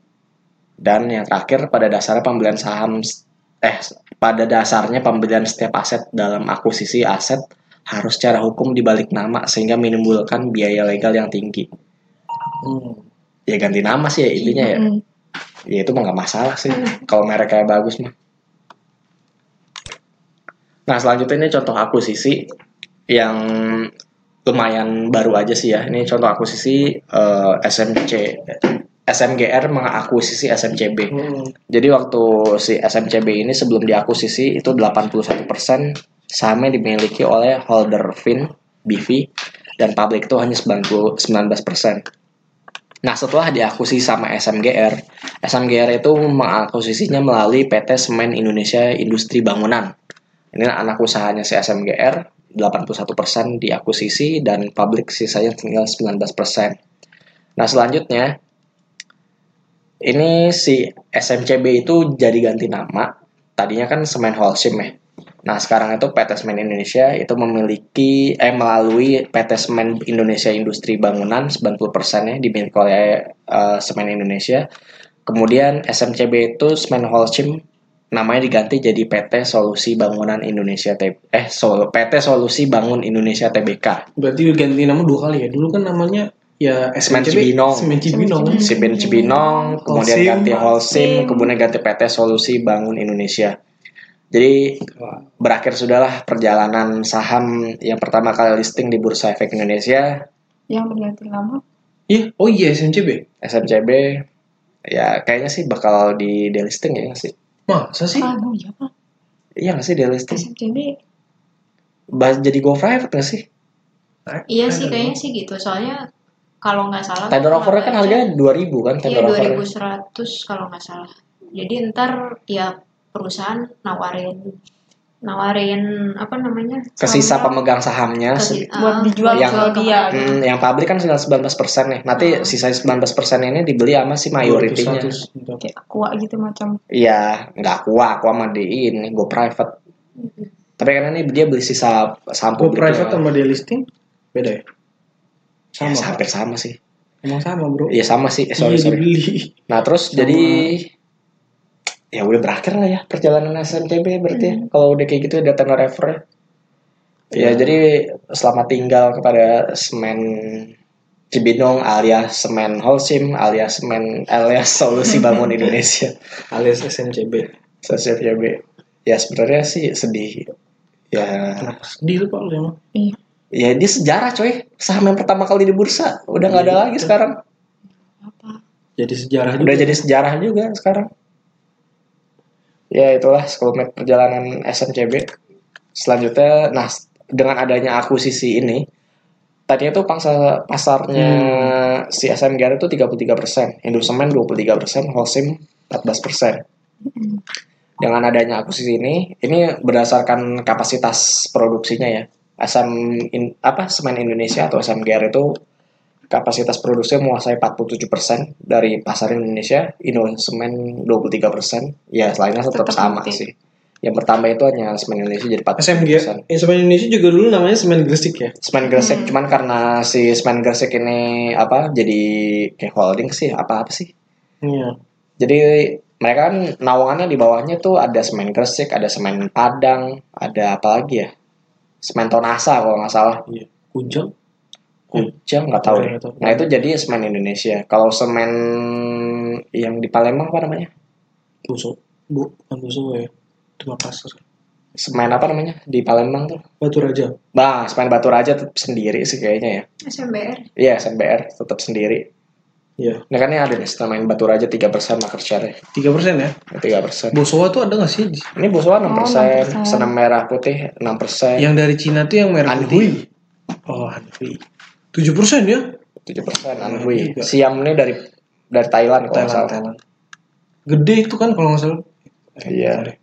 [SPEAKER 1] Dan yang terakhir pada dasarnya pembelian saham eh pada dasarnya pembelian setiap aset dalam akuisisi aset harus secara hukum dibalik nama sehingga menimbulkan biaya legal yang tinggi.
[SPEAKER 2] Hmm.
[SPEAKER 1] Ya ganti nama sih ya intinya ya.
[SPEAKER 6] Mm.
[SPEAKER 1] Ya itu mah nggak masalah sih kalau merek kayak bagus mah. Nah selanjutnya ini contoh akuisisi yang lumayan baru aja sih ya. Ini contoh akuisisi eh, SMC SMGR mengakuisisi SMCB.
[SPEAKER 2] Hmm.
[SPEAKER 1] Jadi waktu si SMCB ini sebelum diakuisisi itu 81% sahamnya dimiliki oleh holder Fin, BV, dan publik itu hanya 90, 19%. Nah setelah diakuisisi sama SMGR, SMGR itu mengakuisisinya melalui PT Semen Indonesia Industri Bangunan. Ini anak usahanya si SMGR, 81% diakuisisi dan publik sisanya tinggal 19%. Nah selanjutnya ini si SMCB itu jadi ganti nama. Tadinya kan Semen Holcim ya. Nah sekarang itu PT Semen Indonesia itu memiliki eh melalui PT Semen Indonesia Industri Bangunan 90% nya dimiliki oleh eh, Semen Indonesia. Kemudian SMCB itu Semen Holcim namanya diganti jadi PT Solusi Bangunan Indonesia T- eh Sol- PT Solusi Bangun Indonesia TBK.
[SPEAKER 2] Berarti ganti nama dua kali ya. Dulu kan namanya ya
[SPEAKER 1] Semen
[SPEAKER 2] SMCB,
[SPEAKER 1] Cibinong.
[SPEAKER 2] Semen Cibinong.
[SPEAKER 6] Semen
[SPEAKER 1] Si
[SPEAKER 3] Hmm.
[SPEAKER 1] Ben Cibinong, kemudian
[SPEAKER 2] Holcim,
[SPEAKER 1] ganti Holcim,
[SPEAKER 6] Holcim.
[SPEAKER 1] kemudian ganti PT Solusi Bangun Indonesia. Jadi
[SPEAKER 2] Wah.
[SPEAKER 1] berakhir sudahlah perjalanan saham yang pertama kali listing di Bursa Efek Indonesia,
[SPEAKER 6] Yang berganti nama.
[SPEAKER 2] Iya, oh iya SMCB.
[SPEAKER 1] SMCB. Ya kayaknya sih bakal di delisting ya nggak sih?
[SPEAKER 2] Masa sih?
[SPEAKER 6] Ah, emang iya Pak.
[SPEAKER 1] Iya nggak sih delisting?
[SPEAKER 6] SMCB
[SPEAKER 1] Bahas jadi go private nggak sih?
[SPEAKER 3] Iya sih kayaknya sih gitu. Soalnya kalau nggak salah
[SPEAKER 1] Tender
[SPEAKER 3] kalau
[SPEAKER 1] offernya kan
[SPEAKER 3] baca-
[SPEAKER 1] harganya 2000 kan
[SPEAKER 3] Oh, Iya
[SPEAKER 1] tender offernya.
[SPEAKER 3] 2100 kalau nggak salah. Jadi ntar ya perusahaan nawarin nawarin apa namanya?
[SPEAKER 1] Ke sisa
[SPEAKER 3] saham-
[SPEAKER 1] pemegang sahamnya.
[SPEAKER 3] ke
[SPEAKER 1] se-
[SPEAKER 3] si- ah,
[SPEAKER 6] buat dijual
[SPEAKER 1] yang-
[SPEAKER 6] ke dia.
[SPEAKER 1] Hmm, yang publik kan tinggal 19 nih. Nanti
[SPEAKER 3] Hmm.
[SPEAKER 1] sisa 19 ini dibeli sama si mayoritinya.
[SPEAKER 2] 200, 200.
[SPEAKER 6] kayak aqua gitu macam
[SPEAKER 1] Iya, nggak aku, aku sama di ini, go private. Tapi karena ini dia beli sisa gitu saham
[SPEAKER 2] Go
[SPEAKER 1] publiknya.
[SPEAKER 2] private sama dia listing beda ya?
[SPEAKER 1] Ya,
[SPEAKER 2] Sama.
[SPEAKER 1] hampir sama sih.
[SPEAKER 2] Emang sama, Bro.
[SPEAKER 1] Iya sama sih. Eh, sorry
[SPEAKER 2] Iya,
[SPEAKER 1] sorry.
[SPEAKER 2] dibeli.
[SPEAKER 1] Nah terus
[SPEAKER 2] Sama.
[SPEAKER 1] jadi ya udah berakhir lah ya perjalanan SMTB berarti ya.
[SPEAKER 2] Hmm.
[SPEAKER 1] Kalau udah kayak gitu ada tenor refer.
[SPEAKER 2] Iya.
[SPEAKER 1] Ya jadi selamat tinggal kepada semen Cibinong alias semen Holcim alias semen alias solusi bangun Indonesia
[SPEAKER 2] Alias SMCB.
[SPEAKER 1] SMTB. Ya sebenarnya sih sedih. Ya
[SPEAKER 2] Kenapa sedih lu, Pak, lu emang?
[SPEAKER 1] Ya dia sejarah coy Saham yang pertama kali di bursa Udah nggak ada
[SPEAKER 2] Iya,
[SPEAKER 1] lagi
[SPEAKER 2] betul.
[SPEAKER 1] sekarang
[SPEAKER 3] apa?
[SPEAKER 2] Jadi sejarah juga.
[SPEAKER 1] Udah jadi sejarah juga sekarang ya itulah 10 menit perjalanan SMCB selanjutnya nah s- dengan adanya akuisisi ini tadinya tuh pangsa pasarnya
[SPEAKER 2] Hmm.
[SPEAKER 1] si SMGR itu 33% Indosemen 23% Holcim 14%
[SPEAKER 2] Hmm.
[SPEAKER 1] dengan adanya akuisisi ini ini berdasarkan kapasitas produksinya ya SM in- apa semen Indonesia atau SMGR itu kapasitas produksi menguasai 47% dari pasar Indonesia, Indosemen 23%. Ya, selainnya tetap,
[SPEAKER 6] Tetap
[SPEAKER 1] sama
[SPEAKER 6] nanti.
[SPEAKER 1] sih. Yang bertambah itu hanya semen Indonesia jadi 40%.
[SPEAKER 2] SMG eh, semen Indonesia juga dulu namanya semen Gresik ya
[SPEAKER 1] Semen Gresik, cuman karena si Semen Gresik ini apa jadi kayak holding sih, apa-apa sih.
[SPEAKER 2] iya
[SPEAKER 1] Jadi mereka kan naungannya di bawahnya tuh ada Semen Gresik, ada Semen Padang, ada apa lagi ya? Semen Tonasa kalau nggak salah.
[SPEAKER 2] Kujang
[SPEAKER 1] Kujang nggak tahu deh.
[SPEAKER 2] ya, Nggak tahu.
[SPEAKER 1] Nah itu jadi semen Indonesia. Kalau semen yang di Palembang apa namanya?
[SPEAKER 2] Buso Bu bukan Buso ya itu Makassar
[SPEAKER 1] Semen apa namanya di Palembang tuh?
[SPEAKER 2] Batu Raja
[SPEAKER 1] Bah, semen Batu Raja tetap sendiri sih kayaknya ya.
[SPEAKER 5] SMBR
[SPEAKER 1] Iya, SMBR tetap sendiri.
[SPEAKER 2] iya
[SPEAKER 1] Nah kan ini ada nih semen Batu Raja 3% market share-nya.
[SPEAKER 2] tiga persen ya
[SPEAKER 1] 3%.
[SPEAKER 2] Bosowa tuh ada nggak sih
[SPEAKER 1] Ini Bosowa 6%,
[SPEAKER 6] Oh, 6%.
[SPEAKER 1] senam merah putih 6%,
[SPEAKER 2] yang dari Cina tuh yang merah
[SPEAKER 1] Anhui.
[SPEAKER 2] putih oh Anhui tujuh persen ya
[SPEAKER 1] 7%
[SPEAKER 2] Iya
[SPEAKER 1] Anhui.
[SPEAKER 2] juga.
[SPEAKER 1] Siam ini dari dari Thailand kalau nggak
[SPEAKER 2] Thailand
[SPEAKER 1] salah.
[SPEAKER 2] Oh, Thailand gede itu kan kalau nggak salah Eh,
[SPEAKER 1] Iya.
[SPEAKER 2] sorry.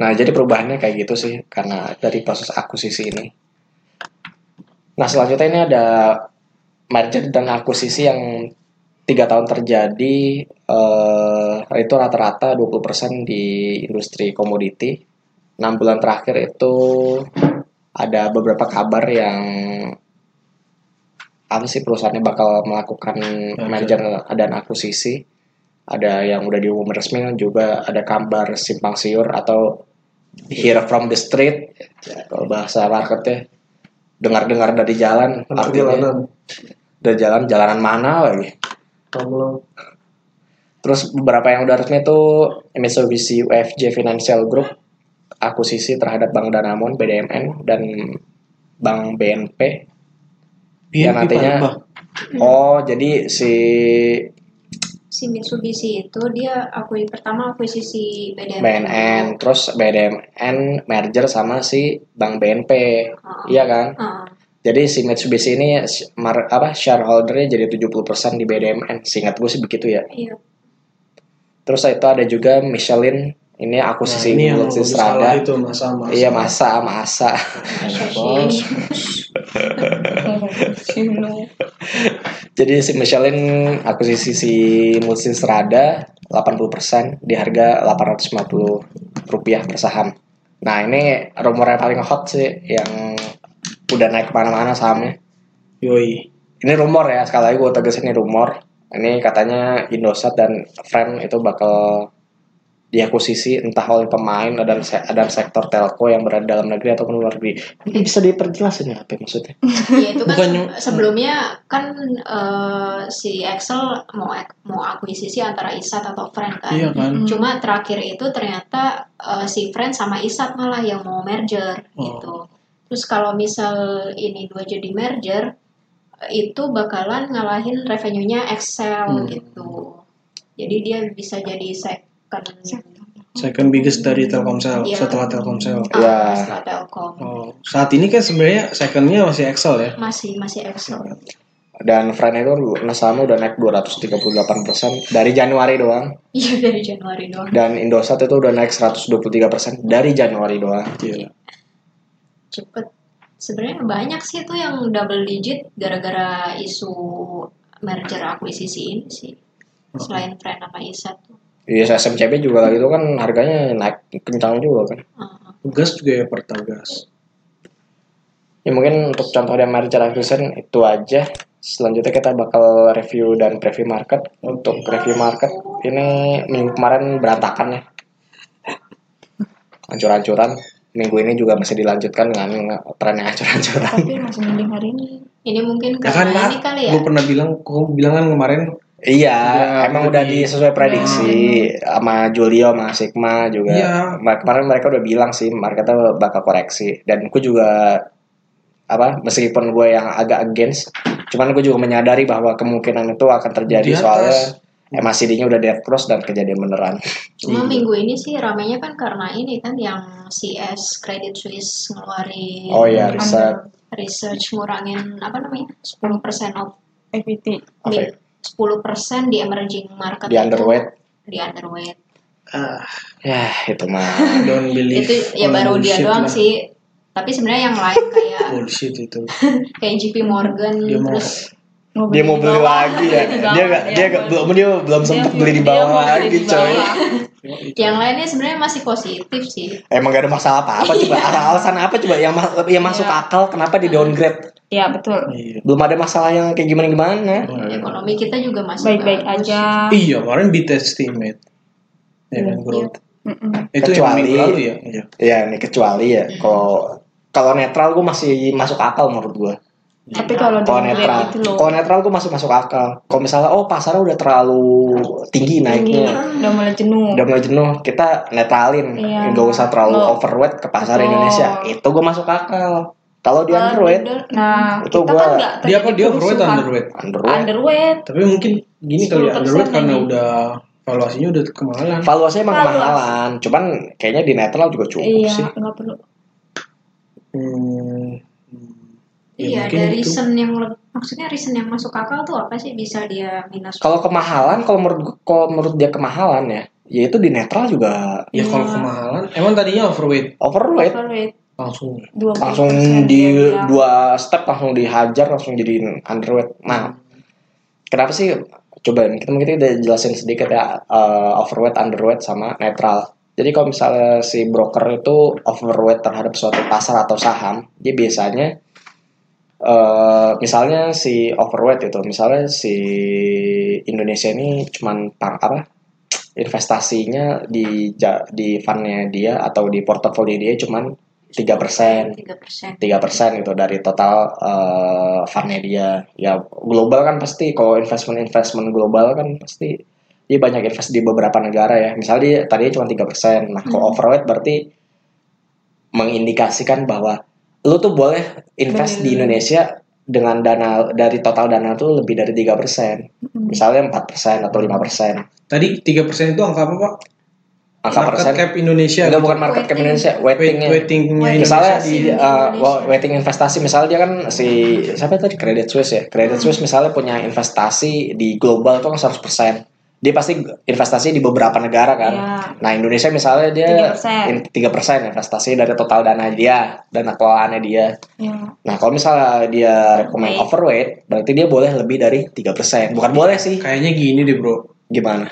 [SPEAKER 1] Nah, jadi perubahannya kayak gitu sih karena dari proses akuisisi ini. Nah, selanjutnya ini ada merger dan akuisisi yang tiga tahun terjadi eh, itu rata-rata 20% di industri komoditi. 6 bulan terakhir itu ada beberapa kabar yang apa sih perusahaannya bakal melakukan merger dan akuisisi. Ada yang udah diumum resmi juga ada kabar simpang siur atau hear from the street ya, kalau bahasa marketnya dengar-dengar dari jalan
[SPEAKER 2] Anak
[SPEAKER 1] artinya
[SPEAKER 2] jalanan
[SPEAKER 1] dari jalan jalanan mana lagi
[SPEAKER 2] kalau
[SPEAKER 1] Terus beberapa yang udah resmi itu Mitsubishi UFJ Financial Group akuisisi terhadap Bank Danamon BDMN dan Bank BNP yang
[SPEAKER 2] BNP
[SPEAKER 1] Iya, nantinya
[SPEAKER 2] Paribas.
[SPEAKER 1] oh jadi si
[SPEAKER 5] si Mitsubishi itu dia aku pertama akuisisi BDM
[SPEAKER 1] BNN terus BDMN merger sama si Bank BNP iya kan
[SPEAKER 5] Ah,
[SPEAKER 1] jadi si Mitsubishi ini sh- mar- apa shareholdernya jadi 70% di BDMN seingat gue sih begitu ya
[SPEAKER 5] iya
[SPEAKER 1] terus itu ada juga Michelin ini
[SPEAKER 2] Nah,
[SPEAKER 1] akuisisi
[SPEAKER 2] ini yang
[SPEAKER 1] Lutsi
[SPEAKER 2] lagi salah
[SPEAKER 1] Strada
[SPEAKER 2] itu masa masa
[SPEAKER 1] iya masa masa
[SPEAKER 5] Sashimi.
[SPEAKER 1] Jadi si Michelin akuisisi si Musin Serada 80% di harga 850 rupiah per saham. Nah ini rumor yang paling hot sih yang udah naik kemana-mana sahamnya.
[SPEAKER 2] yoi
[SPEAKER 1] Ini rumor ya, sekali lagi gue tegasin ini rumor. Ini katanya Indosat dan Frame itu bakal diakuisisi entah oleh pemain dan se- dan sektor telco yang berada dalam negeri ataupun luar negeri. Ini bisa diperjelas ini apa ya maksudnya?
[SPEAKER 3] ya itu kan
[SPEAKER 2] Bukannya-
[SPEAKER 3] se- sebelumnya kan eh, si Excel mau ek- mau akuisisi antara Isat atau Friend kan
[SPEAKER 2] iya kan
[SPEAKER 3] cuma terakhir itu ternyata eh, si Friend sama Isat malah yang mau merger
[SPEAKER 2] Oh.
[SPEAKER 3] gitu terus kalau misal ini dua jadi merger eh, itu bakalan ngalahin revenue-nya Excel
[SPEAKER 2] Hmm.
[SPEAKER 3] gitu jadi dia bisa jadi second
[SPEAKER 2] second biggest dari Telkomsel
[SPEAKER 3] Iya.
[SPEAKER 2] setelah Telkomsel
[SPEAKER 3] ah,
[SPEAKER 1] Ya.
[SPEAKER 3] setelah Telkom
[SPEAKER 2] oh saat ini kan sebenarnya secondnya masih Excel ya
[SPEAKER 3] masih masih Excel
[SPEAKER 1] dan Fran itu sahamnya udah naik 238% dari Januari doang
[SPEAKER 3] iya dari Januari doang
[SPEAKER 1] dan Indosat itu udah naik 123% dari Januari doang
[SPEAKER 2] Gila.
[SPEAKER 3] cepet sebenarnya banyak sih tuh yang double digit gara-gara isu merger akuisisi ini sih selain Friend sama Isat tuh
[SPEAKER 1] Iya SMCB juga lagi itu kan harganya naik kencang juga kan
[SPEAKER 3] Uh,
[SPEAKER 2] Tugas juga ya pertagas
[SPEAKER 1] ya mungkin untuk contoh dan merger acquisition itu aja selanjutnya kita bakal review dan preview market untuk review market ini minggu kemarin berantakan ya hancur-hancuran minggu ini juga masih dilanjutkan dengan tren yang hancur-hancuran
[SPEAKER 6] tapi masih mending hari ini
[SPEAKER 3] ini mungkin
[SPEAKER 2] Ya kan,
[SPEAKER 3] karena
[SPEAKER 2] Mak?
[SPEAKER 3] ini kali ya
[SPEAKER 2] Lu pernah bilang, kok bilang kan kemarin
[SPEAKER 1] Iya, Hmm.
[SPEAKER 2] Udah,
[SPEAKER 1] emang
[SPEAKER 2] udah
[SPEAKER 1] udah
[SPEAKER 2] di-
[SPEAKER 1] di sesuai prediksi sama Julio, sama Sigma juga.
[SPEAKER 2] Iya.
[SPEAKER 1] Ma- Kemarin mereka udah bilang sih marketnya bakal koreksi. Dan gue juga apa meskipun gue yang agak against, cuman gue juga menyadari bahwa kemungkinan itu akan terjadi
[SPEAKER 2] Di atas.
[SPEAKER 1] soalnya MACD-nya udah dead cross dan kejadian beneran.
[SPEAKER 2] Iya.
[SPEAKER 3] Cuma minggu ini sih ramainya kan karena ini kan yang CS Credit Suisse ngeluarin
[SPEAKER 1] Oh iya, riset
[SPEAKER 3] research ngurangin apa namanya 10% of
[SPEAKER 6] equity
[SPEAKER 1] Apa ya?
[SPEAKER 3] 10% di emerging market
[SPEAKER 1] di
[SPEAKER 3] itu-
[SPEAKER 1] underweight.
[SPEAKER 3] di underweight
[SPEAKER 2] Ah,
[SPEAKER 1] Ya, itu mah.
[SPEAKER 2] don't believe.
[SPEAKER 3] itu ya
[SPEAKER 2] all
[SPEAKER 3] baru dia
[SPEAKER 2] bullshit
[SPEAKER 3] doang
[SPEAKER 2] lah.
[SPEAKER 3] sih tapi sebenarnya yang lain kayak
[SPEAKER 2] Bullshit itu.
[SPEAKER 3] kayak JP Morgan
[SPEAKER 2] Dia mau
[SPEAKER 3] Hmm, terus
[SPEAKER 1] Dia mau beli
[SPEAKER 6] bawah.
[SPEAKER 1] lagi ya.
[SPEAKER 6] Di
[SPEAKER 1] Dia
[SPEAKER 6] bawah,
[SPEAKER 1] nggak
[SPEAKER 6] dia
[SPEAKER 1] dia nggak
[SPEAKER 6] mau-
[SPEAKER 1] belum dia belum
[SPEAKER 6] dia
[SPEAKER 1] sempat
[SPEAKER 6] mau-
[SPEAKER 1] beli di
[SPEAKER 6] dia mau
[SPEAKER 1] bawah
[SPEAKER 6] beli di
[SPEAKER 1] lagi, coy.
[SPEAKER 6] bawah.
[SPEAKER 3] yang lainnya sebenarnya masih positif sih
[SPEAKER 1] Emang gak ada masalah apa-apa coba. Alasan apa coba yang ma- yang masuk
[SPEAKER 6] Iya.
[SPEAKER 1] akal kenapa di downgrade?
[SPEAKER 6] ya betul
[SPEAKER 2] Iya.
[SPEAKER 1] Belum ada masalah yang kayak gimana gimana.
[SPEAKER 3] ekonomi kita juga masih
[SPEAKER 6] baik-baik
[SPEAKER 3] bagus.
[SPEAKER 6] aja
[SPEAKER 2] Iya, kemarin beat estimate. Ya kan growth.
[SPEAKER 6] Mm-mm.
[SPEAKER 2] Itu yang
[SPEAKER 1] Kecuali-
[SPEAKER 2] minggu lalu ya. Iya.
[SPEAKER 1] Ya, ini kecuali ya kalau kalau netral gue masih masuk akal menurut gue.
[SPEAKER 6] tapi kalau
[SPEAKER 1] Kalau netral,
[SPEAKER 6] downgrade itu gitu loh
[SPEAKER 1] kalau netral gue masih masuk akal. Kalau misalnya oh pasar udah terlalu tinggi
[SPEAKER 6] tinggi
[SPEAKER 1] naiknya,
[SPEAKER 6] udah mulai jenuh
[SPEAKER 1] udah mulai jenuh kita netralin
[SPEAKER 6] Iya.
[SPEAKER 1] nggak usah terlalu
[SPEAKER 6] Lo-
[SPEAKER 1] overweight ke pasar
[SPEAKER 6] Betul.
[SPEAKER 1] Indonesia itu gue masuk akal kalau di underweight
[SPEAKER 6] nah
[SPEAKER 1] Itu
[SPEAKER 6] kita
[SPEAKER 1] gua-
[SPEAKER 6] kan nggak
[SPEAKER 2] Dia apa?
[SPEAKER 6] terjadi
[SPEAKER 2] Dia overweight
[SPEAKER 6] kerusuhan.
[SPEAKER 2] underweight.
[SPEAKER 1] underweight
[SPEAKER 6] underweight
[SPEAKER 2] Tapi mungkin gini kali ya,
[SPEAKER 6] 10%
[SPEAKER 2] underweight karena
[SPEAKER 6] lagi.
[SPEAKER 2] udah valuasinya udah kemahalan.
[SPEAKER 1] valuasinya emang
[SPEAKER 6] Valuasi.
[SPEAKER 1] kemahalan cuman kayaknya di netral juga cukup
[SPEAKER 6] iya
[SPEAKER 1] sih
[SPEAKER 6] nggak perlu
[SPEAKER 2] Hmm. Ya,
[SPEAKER 5] Iya,
[SPEAKER 2] mungkin
[SPEAKER 5] ada
[SPEAKER 2] itu.
[SPEAKER 5] reason yang le- maksudnya reason yang masuk akal tuh apa sih bisa dia minus?
[SPEAKER 1] kalau kemahalan kalau menurut gua- kalau menurut dia kemahalan ya ya itu di netral juga
[SPEAKER 2] Ya kalau kemahalan, emang tadinya overweight
[SPEAKER 1] overweight
[SPEAKER 6] overweight
[SPEAKER 2] langsung.
[SPEAKER 6] dua
[SPEAKER 1] langsung di dua step langsung dihajar langsung jadi underweight nah kenapa sih coba kita mungkin kita udah jelasin sedikit ya eh, overweight underweight sama netral jadi kalau misalnya si broker itu overweight terhadap suatu pasar atau saham dia biasanya eh misalnya si overweight itu misalnya si Indonesia ini cuman pang apa investasinya di ja- di fundnya dia atau di portofolio dia cuman 3%
[SPEAKER 5] Tiga persen.
[SPEAKER 1] tiga persen gitu dari total eh fundnya dia ya global kan pasti kalau investment investment global kan pasti dia banyak invest di beberapa negara ya misalnya dia tadinya cuma tiga persen nah kalau overweight berarti mengindikasikan bahwa lu tuh boleh invest di
[SPEAKER 6] Boleh.
[SPEAKER 1] Indonesia dengan dana dari total dana tuh lebih dari tiga persen misalnya empat persen atau lima persen
[SPEAKER 2] Tadi 3% itu angka apa, Pak?
[SPEAKER 1] angka persen
[SPEAKER 2] Market gitu. cap Indonesia.
[SPEAKER 1] enggak bukan market cap
[SPEAKER 5] Weighting.
[SPEAKER 1] Indonesia
[SPEAKER 2] Weight-
[SPEAKER 1] weightingnya
[SPEAKER 2] weightingnya
[SPEAKER 1] misalnya
[SPEAKER 2] Indonesia
[SPEAKER 1] di
[SPEAKER 2] di
[SPEAKER 1] uh,
[SPEAKER 5] Indonesia.
[SPEAKER 1] waiting investasi misalnya dia kan si siapa tadi Credit Suisse ya Credit Suisse misalnya punya investasi di global itu kan 100% dia pasti investasi di beberapa negara kan
[SPEAKER 6] Iya,
[SPEAKER 1] nah Indonesia misalnya dia in- 3% investasi dari total dana dia dana kelolaannya dia
[SPEAKER 6] Iya,
[SPEAKER 1] nah kalau misalnya dia rekomend
[SPEAKER 6] Overweight.
[SPEAKER 1] overweight berarti dia boleh lebih dari 3% bukan boleh sih
[SPEAKER 2] Kayaknya gini deh, Bro.
[SPEAKER 1] gimana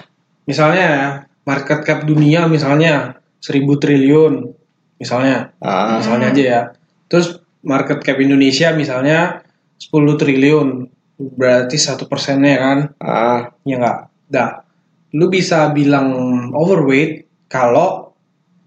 [SPEAKER 2] Misalnya ya, market cap dunia misalnya 1000 triliun misalnya,
[SPEAKER 1] Ah,
[SPEAKER 2] misalnya aja ya. Terus market cap Indonesia misalnya 10 triliun. Berarti satu persennya kan?
[SPEAKER 1] ah,
[SPEAKER 2] Ya enggak. Nah, lu bisa bilang overweight kalau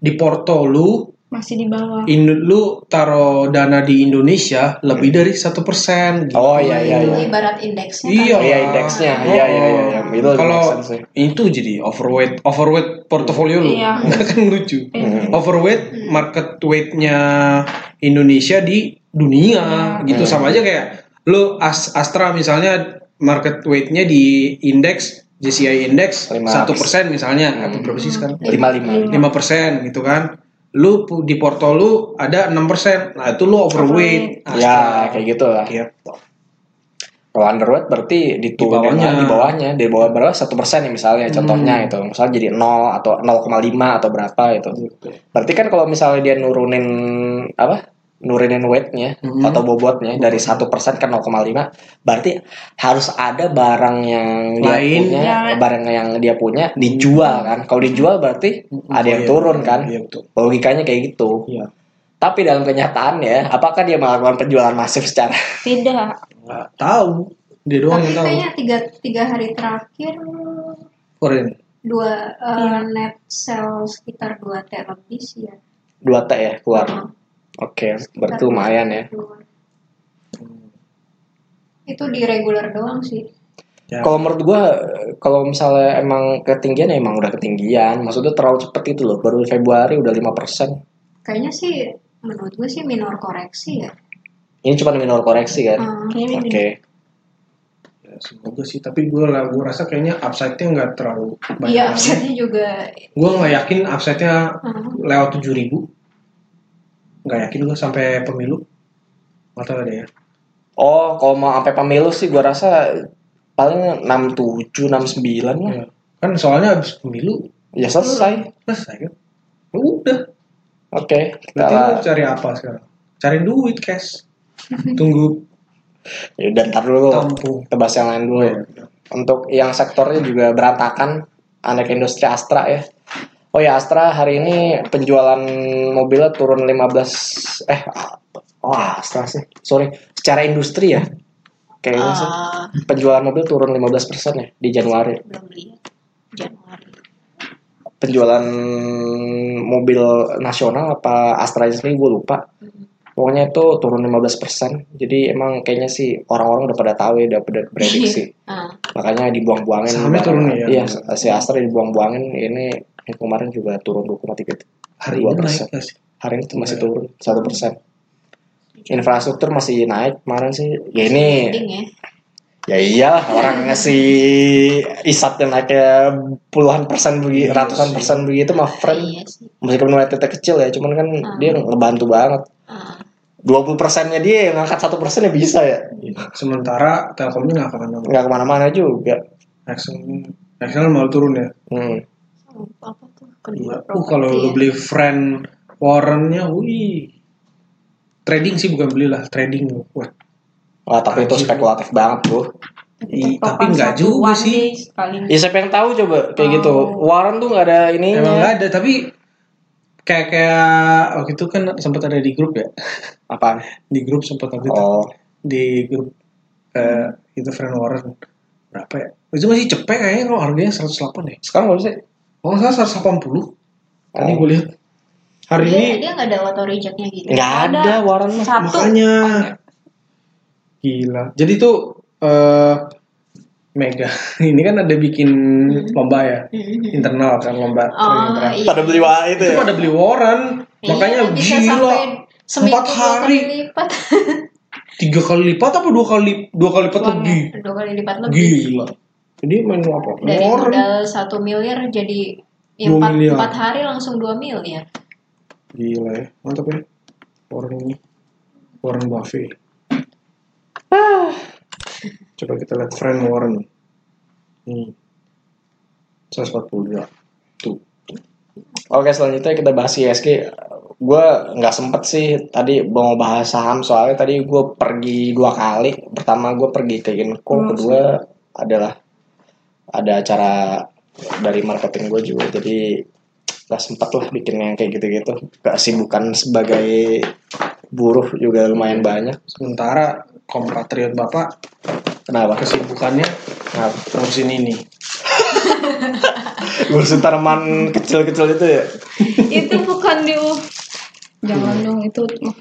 [SPEAKER 2] di porto lu
[SPEAKER 6] masih di bawah
[SPEAKER 1] Iya.
[SPEAKER 2] Indo- lu taruh dana di Indonesia lebih dari satu persen. gitu.
[SPEAKER 1] oh iya iya iya
[SPEAKER 3] ibarat
[SPEAKER 5] kan.
[SPEAKER 3] indeksnya
[SPEAKER 2] Iya,
[SPEAKER 1] iya indeksnya iya iya iya iya. itu lebih
[SPEAKER 2] Kalau
[SPEAKER 1] make sense sih.
[SPEAKER 2] itu jadi overweight, overweight portofolio lu
[SPEAKER 6] Iya.
[SPEAKER 2] kan lucu.
[SPEAKER 1] Hmm.
[SPEAKER 6] Eh,
[SPEAKER 2] Overweight market weightnya Indonesia di dunia gitu sama aja kayak lu As- Astra misalnya market weightnya di indeks JCI index
[SPEAKER 1] Lima
[SPEAKER 2] satu persen misalnya apa berapa sih sekarang?
[SPEAKER 1] lima lima
[SPEAKER 2] lima persen gitu kan lu pu- di porto lu ada enam persen nah itu lu overweight Nah,
[SPEAKER 1] Ya, kayak gitu lah.
[SPEAKER 2] gitu
[SPEAKER 1] Kalau underweight berarti
[SPEAKER 2] bawahnya. Hmm.
[SPEAKER 1] dituruninnya di bawahnya, di bawah berapa satu persen ya misalnya, contohnya itu, misalnya jadi 0 atau 0,5 atau berapa itu. Berarti kan kalau misalnya dia nurunin apa? nurunin weightnya
[SPEAKER 2] Mhm.
[SPEAKER 1] atau bobotnya dari satu persen ke 0,5 berarti harus ada barang yang dia
[SPEAKER 2] Lain,
[SPEAKER 1] punya
[SPEAKER 6] ya.
[SPEAKER 1] barang yang dia punya dijual kan kalau dijual berarti ada yang turun kan
[SPEAKER 2] Hmm. iya betul
[SPEAKER 1] logikanya kayak gitu
[SPEAKER 2] iya
[SPEAKER 1] tapi dalam kenyataannya apakah dia melakukan penjualan masif secara
[SPEAKER 6] tidak
[SPEAKER 2] nggak tahu dia
[SPEAKER 5] Tapi
[SPEAKER 2] doang yang tahu
[SPEAKER 5] kayaknya tiga tiga hari terakhir
[SPEAKER 2] keren
[SPEAKER 5] dua eh, net sell sekitar dua t lebih sih ya.
[SPEAKER 1] 2T ya keluar. Oke, berarti lumayan ya.
[SPEAKER 5] Dua. Itu di regular doang sih.
[SPEAKER 2] Ya.
[SPEAKER 1] Kalau menurut gua kalau misalnya emang ketinggian ya emang udah ketinggian. Maksudnya terlalu cepet itu loh. Baru Februari udah 5%.
[SPEAKER 5] Kayaknya sih menurut gue sih minor koreksi ya.
[SPEAKER 2] Iya.
[SPEAKER 3] Ah,
[SPEAKER 1] Ini cuma minor koreksi kan.
[SPEAKER 5] Hmm.
[SPEAKER 1] Oke.
[SPEAKER 6] kayaknya ini
[SPEAKER 2] Ya, semoga sih tapi gue lah gue rasa kayaknya upside-nya nggak terlalu banyak
[SPEAKER 5] Iya, absennya juga eh,
[SPEAKER 2] gue nggak yakin upside-nya lewat tujuh ribu nggak yakin gue sampai pemilu atau ada ya
[SPEAKER 1] Oh, kalau mau sampai pemilu sih gua rasa paling 67, 69 lah.
[SPEAKER 2] Iya. kan soalnya habis pemilu
[SPEAKER 1] Ya selesai.
[SPEAKER 2] selesai kan Ya udah
[SPEAKER 1] Oke. kita-
[SPEAKER 2] berarti lu cari apa sekarang cari duit cash tunggu
[SPEAKER 1] Ya udah ntar dulu.
[SPEAKER 2] tampung
[SPEAKER 1] Kita bahas yang lain dulu ya. Untuk yang sektornya juga berantakan, anak industri Astra ya. Oh ya Astra hari ini penjualan mobilnya turun 15 eh oh Astra sih. Sorry, secara industri ya. Kayaknya sih
[SPEAKER 3] Eh,
[SPEAKER 1] penjualan mobil turun 15% ya di Januari.
[SPEAKER 3] belum lihat Januari
[SPEAKER 1] penjualan mobil nasional apa Astra sendiri gue lupa
[SPEAKER 3] Hmm.
[SPEAKER 1] pokoknya itu turun 15% jadi emang kayaknya sih orang-orang udah pada tahu ya udah pada prediksi
[SPEAKER 3] Ah,
[SPEAKER 1] makanya dibuang-buangin
[SPEAKER 2] Sahamnya turun ya?
[SPEAKER 1] iya si Astra dibuang-buangin ini yang kemarin juga turun 2,3
[SPEAKER 2] hari ini
[SPEAKER 1] 2%.
[SPEAKER 2] naik nggak sih
[SPEAKER 1] hari ini tuh masih
[SPEAKER 2] Iya.
[SPEAKER 1] turun 1% infrastruktur masih naik kemarin sih ya ini
[SPEAKER 3] ding ya
[SPEAKER 1] Ya iyalah orang ngasih isat yang naiknya puluhan persen begi,
[SPEAKER 2] Iya
[SPEAKER 1] ratusan persen begitu mah friend
[SPEAKER 3] iya sih
[SPEAKER 1] meskipun mulai titik kecil ya cuman kan dia ngebantu banget
[SPEAKER 3] Ah,
[SPEAKER 1] 20 persennya dia yang ngangkat satu persennya bisa ya
[SPEAKER 2] sementara telkomnya nggak akan
[SPEAKER 1] nggak kemana-mana juga
[SPEAKER 2] Excel Excel malah turun ya
[SPEAKER 1] hmm.
[SPEAKER 3] apa tuh
[SPEAKER 2] Gila.
[SPEAKER 3] kedua
[SPEAKER 2] Uh, kalau
[SPEAKER 3] properti
[SPEAKER 2] lu beli friend warrennya, wih. Trading sih bukan belilah, trading. Wah,
[SPEAKER 1] Wah, tapi itu spekulatif banget tuh
[SPEAKER 2] i- tapi nggak juga sih.
[SPEAKER 1] ya siapa yang tahu coba kayak gitu Warren tuh nggak ada ininya
[SPEAKER 2] Emang nggak ada, tapi kayak kayak waktu itu kan sempat ada di grup ya,
[SPEAKER 1] apaan
[SPEAKER 2] di grup sempat waktu itu
[SPEAKER 1] oh
[SPEAKER 2] di grup eh, itu friend warren berapa ya? Itu masih cepet kayaknya kalau harganya 108 ya.
[SPEAKER 1] sekarang baru sih
[SPEAKER 2] Kalau nggak salah 180. Tadi
[SPEAKER 1] Oh.
[SPEAKER 2] gue lihat hari
[SPEAKER 3] dia
[SPEAKER 2] ini
[SPEAKER 3] dia nggak ada auto rejectnya gitu
[SPEAKER 1] nggak ada Warren mah
[SPEAKER 6] Satu.
[SPEAKER 2] Makanya. Gila. Jadi tuh eh mega. Ini kan ada bikin
[SPEAKER 3] Hmm.
[SPEAKER 2] lomba ya. Internal kan lomba. trading internal.
[SPEAKER 3] Mm-hmm. iya.
[SPEAKER 1] pada beli wah itu
[SPEAKER 2] Itu
[SPEAKER 1] ya
[SPEAKER 2] pada beli waran. Makanya
[SPEAKER 3] Iya, bisa
[SPEAKER 2] gila.
[SPEAKER 3] sampai seminggu
[SPEAKER 2] Empat
[SPEAKER 3] dua
[SPEAKER 2] hari.
[SPEAKER 3] kali lipat
[SPEAKER 2] Tiga kali lipat apa dua kali dua kali lipat
[SPEAKER 3] Uangnya
[SPEAKER 2] lebih?
[SPEAKER 3] Iya, dua kali lipat lebih
[SPEAKER 2] Gila. Jadi main apa?
[SPEAKER 3] dari
[SPEAKER 2] Waran.
[SPEAKER 3] modal satu miliar jadi ya,
[SPEAKER 2] Dua
[SPEAKER 3] empat,
[SPEAKER 2] miliar.
[SPEAKER 3] empat hari langsung dua miliar
[SPEAKER 2] Gila ya. Mantap ya. Waran ini. Warren Buffett. Coba kita lihat friend Warren. Hmm. 142. Tuh.
[SPEAKER 1] Oke selanjutnya kita bahas ISG. Gue nggak sempet sih tadi mau bahas saham soalnya tadi gue pergi dua kali. Pertama gue pergi ke Inco, kedua adalah ada acara dari marketing gue juga. Jadi nggak sempet lah bikin yang kayak gitu-gitu. Kesibukan sebagai buruh juga lumayan banyak.
[SPEAKER 2] Sementara kompatriot bapak
[SPEAKER 1] Kenapa?
[SPEAKER 2] kesibukannya
[SPEAKER 1] Kenapa?
[SPEAKER 2] ngurusin ini.
[SPEAKER 1] Ngurusin tanaman kecil-kecil itu ya.
[SPEAKER 6] itu bukan di jangan
[SPEAKER 1] Iya.
[SPEAKER 6] dong itu mah.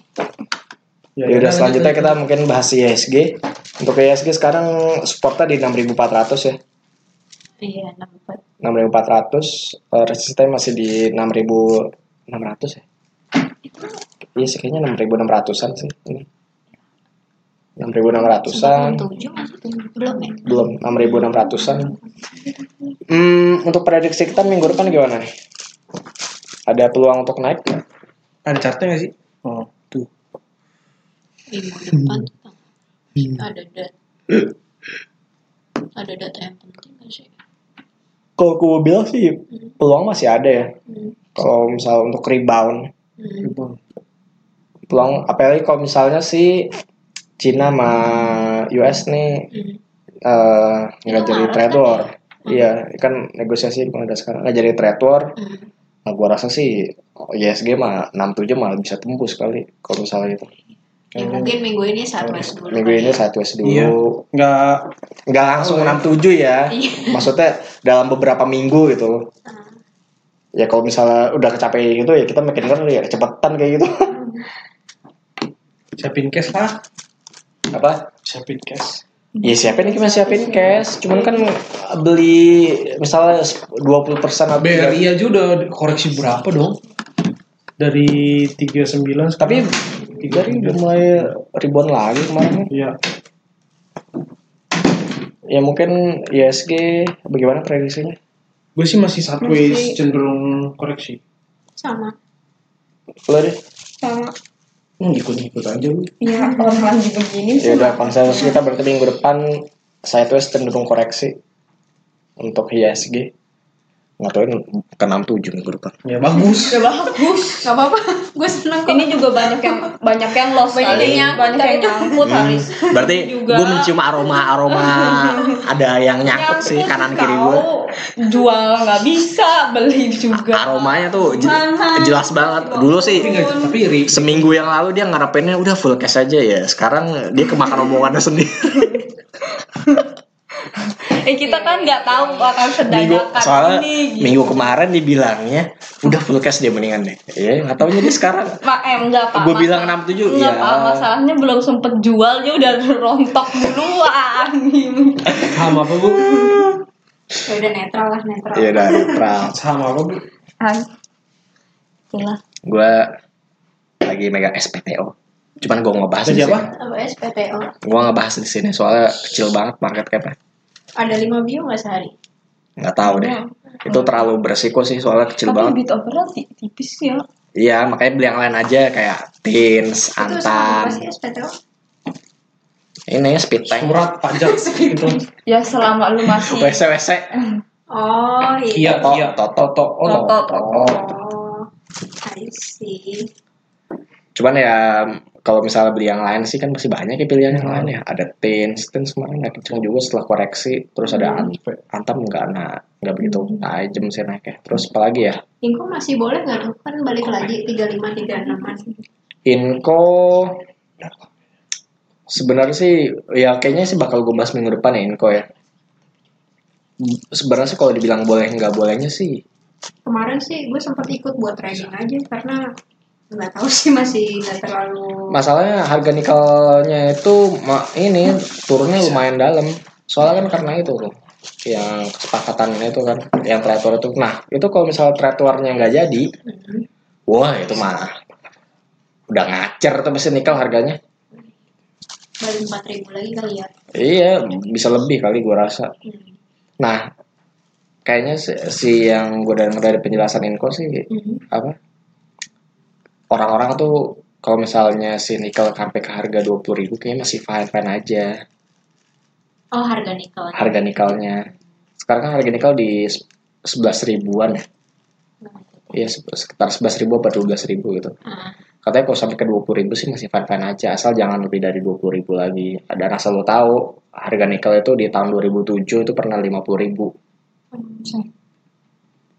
[SPEAKER 2] Iya,
[SPEAKER 1] Ya udah selanjutnya kita mungkin bahas ISG. Untuk ISG sekarang supportnya di 6.400 ya.
[SPEAKER 3] iya enam empat
[SPEAKER 1] 6.400 eh, resisten masih di 6.600 ya iya sih kayaknya 6.600an sih ini 6.600an
[SPEAKER 3] tujuh masih belum ya
[SPEAKER 1] belum 6.600an hmm, untuk prediksi kita minggu depan gimana nih ada peluang untuk naik nggak?
[SPEAKER 2] ada chartnya nggak sih? Oh, tuh.
[SPEAKER 3] minggu depan tuh Kang.
[SPEAKER 2] Hmm.
[SPEAKER 3] ada dat ada data yang penting nggak sih
[SPEAKER 1] kalau gue bilang sih peluang masih ada ya kalau misal untuk rebound
[SPEAKER 2] Rebound.
[SPEAKER 1] peluang apalagi kalau misalnya si Cina sama US nih eh, nggak jadi trade war iya kan negosiasi bukan ada sekarang nggak jadi trade war nah gua rasa sih oh, ISG mah 67 malah bisa tembus kali kalau misalnya itu
[SPEAKER 3] ya, mungkin minggu ini saat west dulu
[SPEAKER 1] minggu ini sideways dulu
[SPEAKER 2] Iya. Nggak
[SPEAKER 1] nggak langsung 67 ya maksudnya dalam beberapa minggu gitu ya kalau misalnya udah kecapean gitu ya kita makin ngeri ya kecepetan kayak gitu
[SPEAKER 2] siapin cash lah.
[SPEAKER 1] apa
[SPEAKER 2] Siapin cash.
[SPEAKER 1] Ya siapin cuma siapin cash, cuman kan beli misalnya 20% atau
[SPEAKER 2] BRI aja udah koreksi berapa dong? Dari 39
[SPEAKER 1] Tapi
[SPEAKER 2] sekarang.
[SPEAKER 1] dari udah mulai rebound lagi kemarin.
[SPEAKER 2] Iya.
[SPEAKER 1] Ya mungkin ISG bagaimana prediksinya?
[SPEAKER 2] Gue sih masih sideways
[SPEAKER 6] Masih-
[SPEAKER 2] cenderung koreksi.
[SPEAKER 5] sama
[SPEAKER 1] Lo deh.
[SPEAKER 6] sama
[SPEAKER 2] Hmm, ikut-ikut aja lu.
[SPEAKER 6] ya orang lagi begini
[SPEAKER 1] Ya udah konsensus kita berarti minggu depan sideways cenderung koreksi untuk ISG. Ngatuin ke 67 minggu depan.
[SPEAKER 2] Ya bagus.
[SPEAKER 6] udah bagus
[SPEAKER 5] nggak apa-apa gue seneng kok
[SPEAKER 6] ini juga banyak yang banyak yang lost
[SPEAKER 5] Banyak
[SPEAKER 6] kali.
[SPEAKER 5] yang nyangkut,
[SPEAKER 6] banyak yang
[SPEAKER 5] tadi tuh.
[SPEAKER 6] nyangkut
[SPEAKER 1] Hmm,
[SPEAKER 6] Haris
[SPEAKER 1] Berarti
[SPEAKER 6] Juga.
[SPEAKER 1] gue mencium aroma-aroma ada yang nyangkut sih
[SPEAKER 6] Nyangkut,
[SPEAKER 1] kanan kiri
[SPEAKER 6] kau
[SPEAKER 1] gue.
[SPEAKER 6] jual nggak bisa beli juga
[SPEAKER 1] Aromanya tuh je-
[SPEAKER 6] Mana?
[SPEAKER 1] jelas banget. Dulu sih
[SPEAKER 2] Tapi nggak Iya, tapi iri.
[SPEAKER 1] seminggu yang lalu dia ngarepinnya udah full cash aja ya. Sekarang dia kemakan omongannya sendiri.
[SPEAKER 6] eh kita kan nggak tahu akan
[SPEAKER 1] minggu
[SPEAKER 6] sedadakan
[SPEAKER 1] soalnya
[SPEAKER 6] ini gitu.
[SPEAKER 1] minggu kemarin dibilangnya udah full cash dia mendingan deh. Iya, nggak taunya dia sekarang.
[SPEAKER 6] Pak eh, enggak Pak.
[SPEAKER 1] Gua
[SPEAKER 6] Masa-
[SPEAKER 1] bilang 67,
[SPEAKER 6] Enggak,
[SPEAKER 1] ya.
[SPEAKER 6] Pak, masalahnya belum sempet jual dia udah rontok duluan.
[SPEAKER 2] Saham apa bu?
[SPEAKER 5] ya udah netral lah netral
[SPEAKER 1] Iya udah netral.
[SPEAKER 2] Saham apa bu?
[SPEAKER 6] Itulah.
[SPEAKER 1] Gue lagi megang SPTO. Cuman gue ngebahas
[SPEAKER 2] Apa
[SPEAKER 1] di
[SPEAKER 2] siapa?
[SPEAKER 1] sini.
[SPEAKER 5] apa SPTO
[SPEAKER 1] Gue ngebahas di sini soalnya kecil banget market capnya.
[SPEAKER 5] ada lima view nggak sehari
[SPEAKER 1] Nggak tahu deh. Itu terlalu beresiko sih soalnya kecil
[SPEAKER 6] Oh. Tapi
[SPEAKER 1] banget.
[SPEAKER 6] bit overall ti- tipis ya.
[SPEAKER 1] Iya makanya beli yang lain aja kayak Tins,
[SPEAKER 5] itu sama apa sih
[SPEAKER 1] Antam.
[SPEAKER 5] SPTO
[SPEAKER 1] Ini ya, speed tank.
[SPEAKER 2] Surat pajak gitu.
[SPEAKER 6] Ya selama lu masih
[SPEAKER 1] WC WC.
[SPEAKER 5] oh iya
[SPEAKER 2] Iya
[SPEAKER 1] Toto,
[SPEAKER 2] iya.
[SPEAKER 1] Toto.
[SPEAKER 2] Toto. Oh,
[SPEAKER 6] Toto, Toto.
[SPEAKER 5] oh I see
[SPEAKER 1] Cuman ya kalau misalnya beli yang lain sih kan masih banyak ya pilihan yang lain ya.
[SPEAKER 2] Iya.
[SPEAKER 1] Ada Tins, Tins kemarin naik kenceng juga setelah koreksi. Terus ada
[SPEAKER 6] Hmm.
[SPEAKER 1] Ant- Antam nggak na nggak begitu tajam sih naiknya. Terus apalagi ya?
[SPEAKER 5] Ingko masih boleh nggak tuh kan balik lagi tiga lima tiga an
[SPEAKER 1] Inco sebenarnya sih ya kayaknya sih bakal gue bahas minggu depan ya Inco ya. Sebenarnya sih kalau dibilang boleh nggak bolehnya sih
[SPEAKER 5] kemarin sih gue sempat ikut buat trading aja karena nggak tahu sih masih nggak terlalu
[SPEAKER 1] masalahnya harga nikelnya itu ma- ini turunnya lumayan dalam soalnya kan karena itu tuh yang kesepakatan itu kan yang trade war itu nah itu kalau misalnya trade warnya nggak jadi wah itu mah udah ngacer tuh mesin nikel harganya
[SPEAKER 5] balik empat ribu lagi kali ya
[SPEAKER 1] iya bisa lebih kali gua rasa
[SPEAKER 5] Hmm.
[SPEAKER 1] nah kayaknya si, si yang gue denger dari penjelasan Inko sih
[SPEAKER 5] Hmm.
[SPEAKER 1] apa orang-orang tuh kalau misalnya si nikel sampai ke harga 20.000 ribu kayaknya masih fine fine aja
[SPEAKER 5] oh harga nikel
[SPEAKER 1] harga nikelnya sekarang kan harga nikel di se- 11 ribuan ya Iya se- sekitar 11 ribu atau 12 ribu gitu
[SPEAKER 5] Ah.
[SPEAKER 1] katanya kalau sampai ke 20 ribu sih masih fine fine aja asal jangan lebih dari 20 ribu lagi dan asal lo tahu harga nikel itu di tahun 2007 itu pernah 50 ribu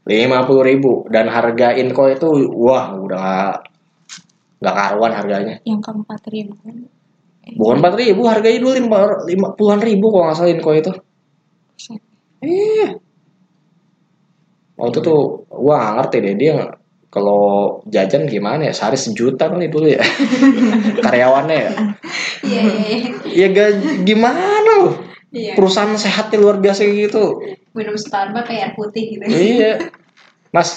[SPEAKER 1] 50 ribu dan harga inco itu wah udah nggak nggak karuan harganya
[SPEAKER 6] yang ke 4000.
[SPEAKER 1] Bukan 4 ribu, harganya dulu lima- lima puluhan ribu kalau nggak salah Inko itu. Iya. Waktu Oh, itu gua nggak ngerti deh dia nggak- kalau jajan gimana ya sehari sejuta kali dulu ya karyawannya ya.
[SPEAKER 5] iya iya iya.
[SPEAKER 1] Ya ga- gimana loh
[SPEAKER 5] iya
[SPEAKER 1] perusahaan sehatnya luar biasa kayak gitu.
[SPEAKER 5] minum Starbucks kayak air putih gitu
[SPEAKER 1] iya. Mas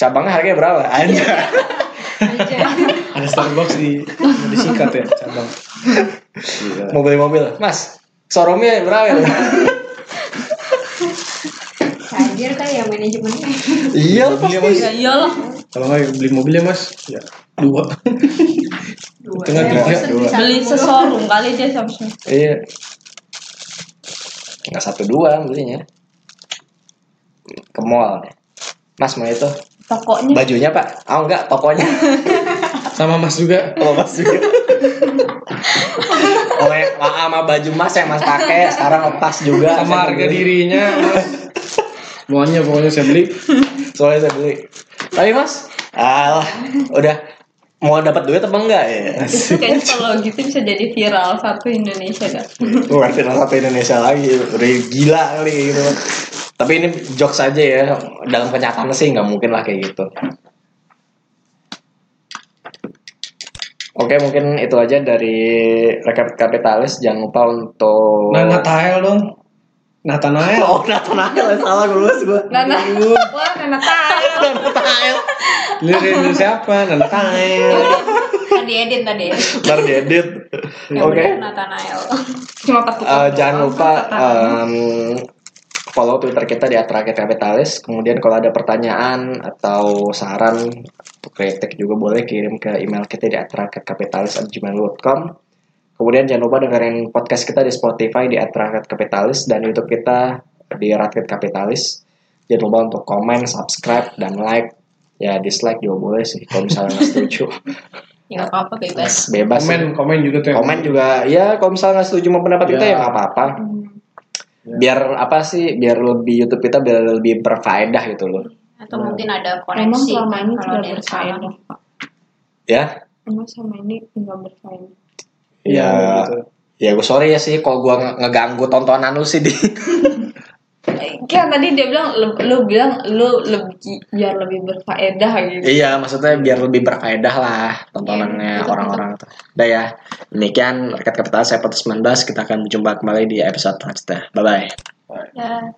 [SPEAKER 1] cabangnya harganya berapa? Anjay.
[SPEAKER 5] aja
[SPEAKER 2] Ada Starbucks di mau disikat ya cabang.
[SPEAKER 1] Mau beli mobil. Mas, showroomnya berapa? ya?
[SPEAKER 5] hadir kayak ya manajemennya
[SPEAKER 1] iya
[SPEAKER 2] Beli ya, mas.
[SPEAKER 1] pasti.
[SPEAKER 6] Ya iyalah.
[SPEAKER 2] Kalau nggak beli mobilnya mas. Ya dua.
[SPEAKER 5] dua
[SPEAKER 2] Tengah
[SPEAKER 5] Saya bosen
[SPEAKER 2] dua,
[SPEAKER 5] di
[SPEAKER 1] dua.
[SPEAKER 5] satu
[SPEAKER 6] Beli
[SPEAKER 5] mulu.
[SPEAKER 6] sesorong kali dia Samsung.
[SPEAKER 1] Iya. Nggak satu dua belinya. Ke mall. Mas mau itu
[SPEAKER 6] Pokoknya
[SPEAKER 1] bajunya pak? Oh enggak, tokonya.
[SPEAKER 2] Sama mas juga.
[SPEAKER 1] Oh mas juga. Oh ya, sama baju mas yang mas pakai sekarang lepas juga. Saya
[SPEAKER 2] Sama harga
[SPEAKER 1] beli.
[SPEAKER 2] dirinya. Mas. Semuanya pokoknya saya beli.
[SPEAKER 1] Soalnya saya beli. Tapi mas, alah, udah mau dapat duit apa enggak ya?
[SPEAKER 6] kayaknya kalau gitu bisa jadi viral satu Indonesia dah.
[SPEAKER 1] Bukan final satu Indonesia lagi, udah gila kali kayak gitu. Tapi ini jokes aja ya, dalam kenyataannya sih nggak mungkin lah kayak gitu. Oke mungkin itu aja dari rekap kapitalis. Jangan lupa untuk.
[SPEAKER 2] Nah Nathanael dong. Nathanael.
[SPEAKER 1] Oh Nathanael, salah gue lulus gue.
[SPEAKER 6] Nana, wah Nana tahu.
[SPEAKER 1] Nathanael.
[SPEAKER 2] Lirik siapa? Nathanael.
[SPEAKER 3] Tadi edit tadi.
[SPEAKER 1] Ntar diedit. Oke.
[SPEAKER 3] Nathanael.
[SPEAKER 6] Cuma takut.
[SPEAKER 1] Eh, jangan lupa em, follow Twitter kita di @rakitalis. Kemudian kalau ada pertanyaan atau saran atau kritik juga boleh kirim ke email kita di @rakitalis@gmail.com. Kemudian jangan lupa dengerin podcast kita di Spotify di @rakitkapitalis dan YouTube kita di Rakyat Kapitalis. Jangan lupa untuk komen, subscribe, dan like. Ya dislike juga boleh sih kalau misalnya nggak setuju.
[SPEAKER 3] Ya nggak apa-apa bebas.
[SPEAKER 1] Bebas. sih.
[SPEAKER 2] komen komen juga tuh yang-
[SPEAKER 1] komen juga ya kalau misalnya nggak setuju sama pendapat kita
[SPEAKER 2] Ya.
[SPEAKER 1] ya nggak apa-apa biar apa sih biar lebih YouTube kita biar lebih berfaedah gitu loh
[SPEAKER 3] Atau mungkin ada
[SPEAKER 6] Emang
[SPEAKER 3] koneksi
[SPEAKER 6] selama
[SPEAKER 3] kan,
[SPEAKER 6] ini
[SPEAKER 3] kalau
[SPEAKER 6] tidak
[SPEAKER 3] ada yang salah.
[SPEAKER 6] berfaedah. Pak?
[SPEAKER 1] ya
[SPEAKER 6] Emang selama ini nggak berfaedah.
[SPEAKER 1] Iya.
[SPEAKER 2] Iya, gitu.
[SPEAKER 1] ya gue sorry ya sih kalau gue nge- ngeganggu tontonan lu sih di
[SPEAKER 6] Kan tadi dia bilang lu, lu bilang lu lebih biar lebih berfaedah gitu.
[SPEAKER 1] iya maksudnya biar lebih berfaedah lah tontonannya orang-orang tuh udah ya demikian rakyat kapital saya Petrus 19 kita akan berjumpa kembali di episode selanjutnya bye bye
[SPEAKER 3] Ya.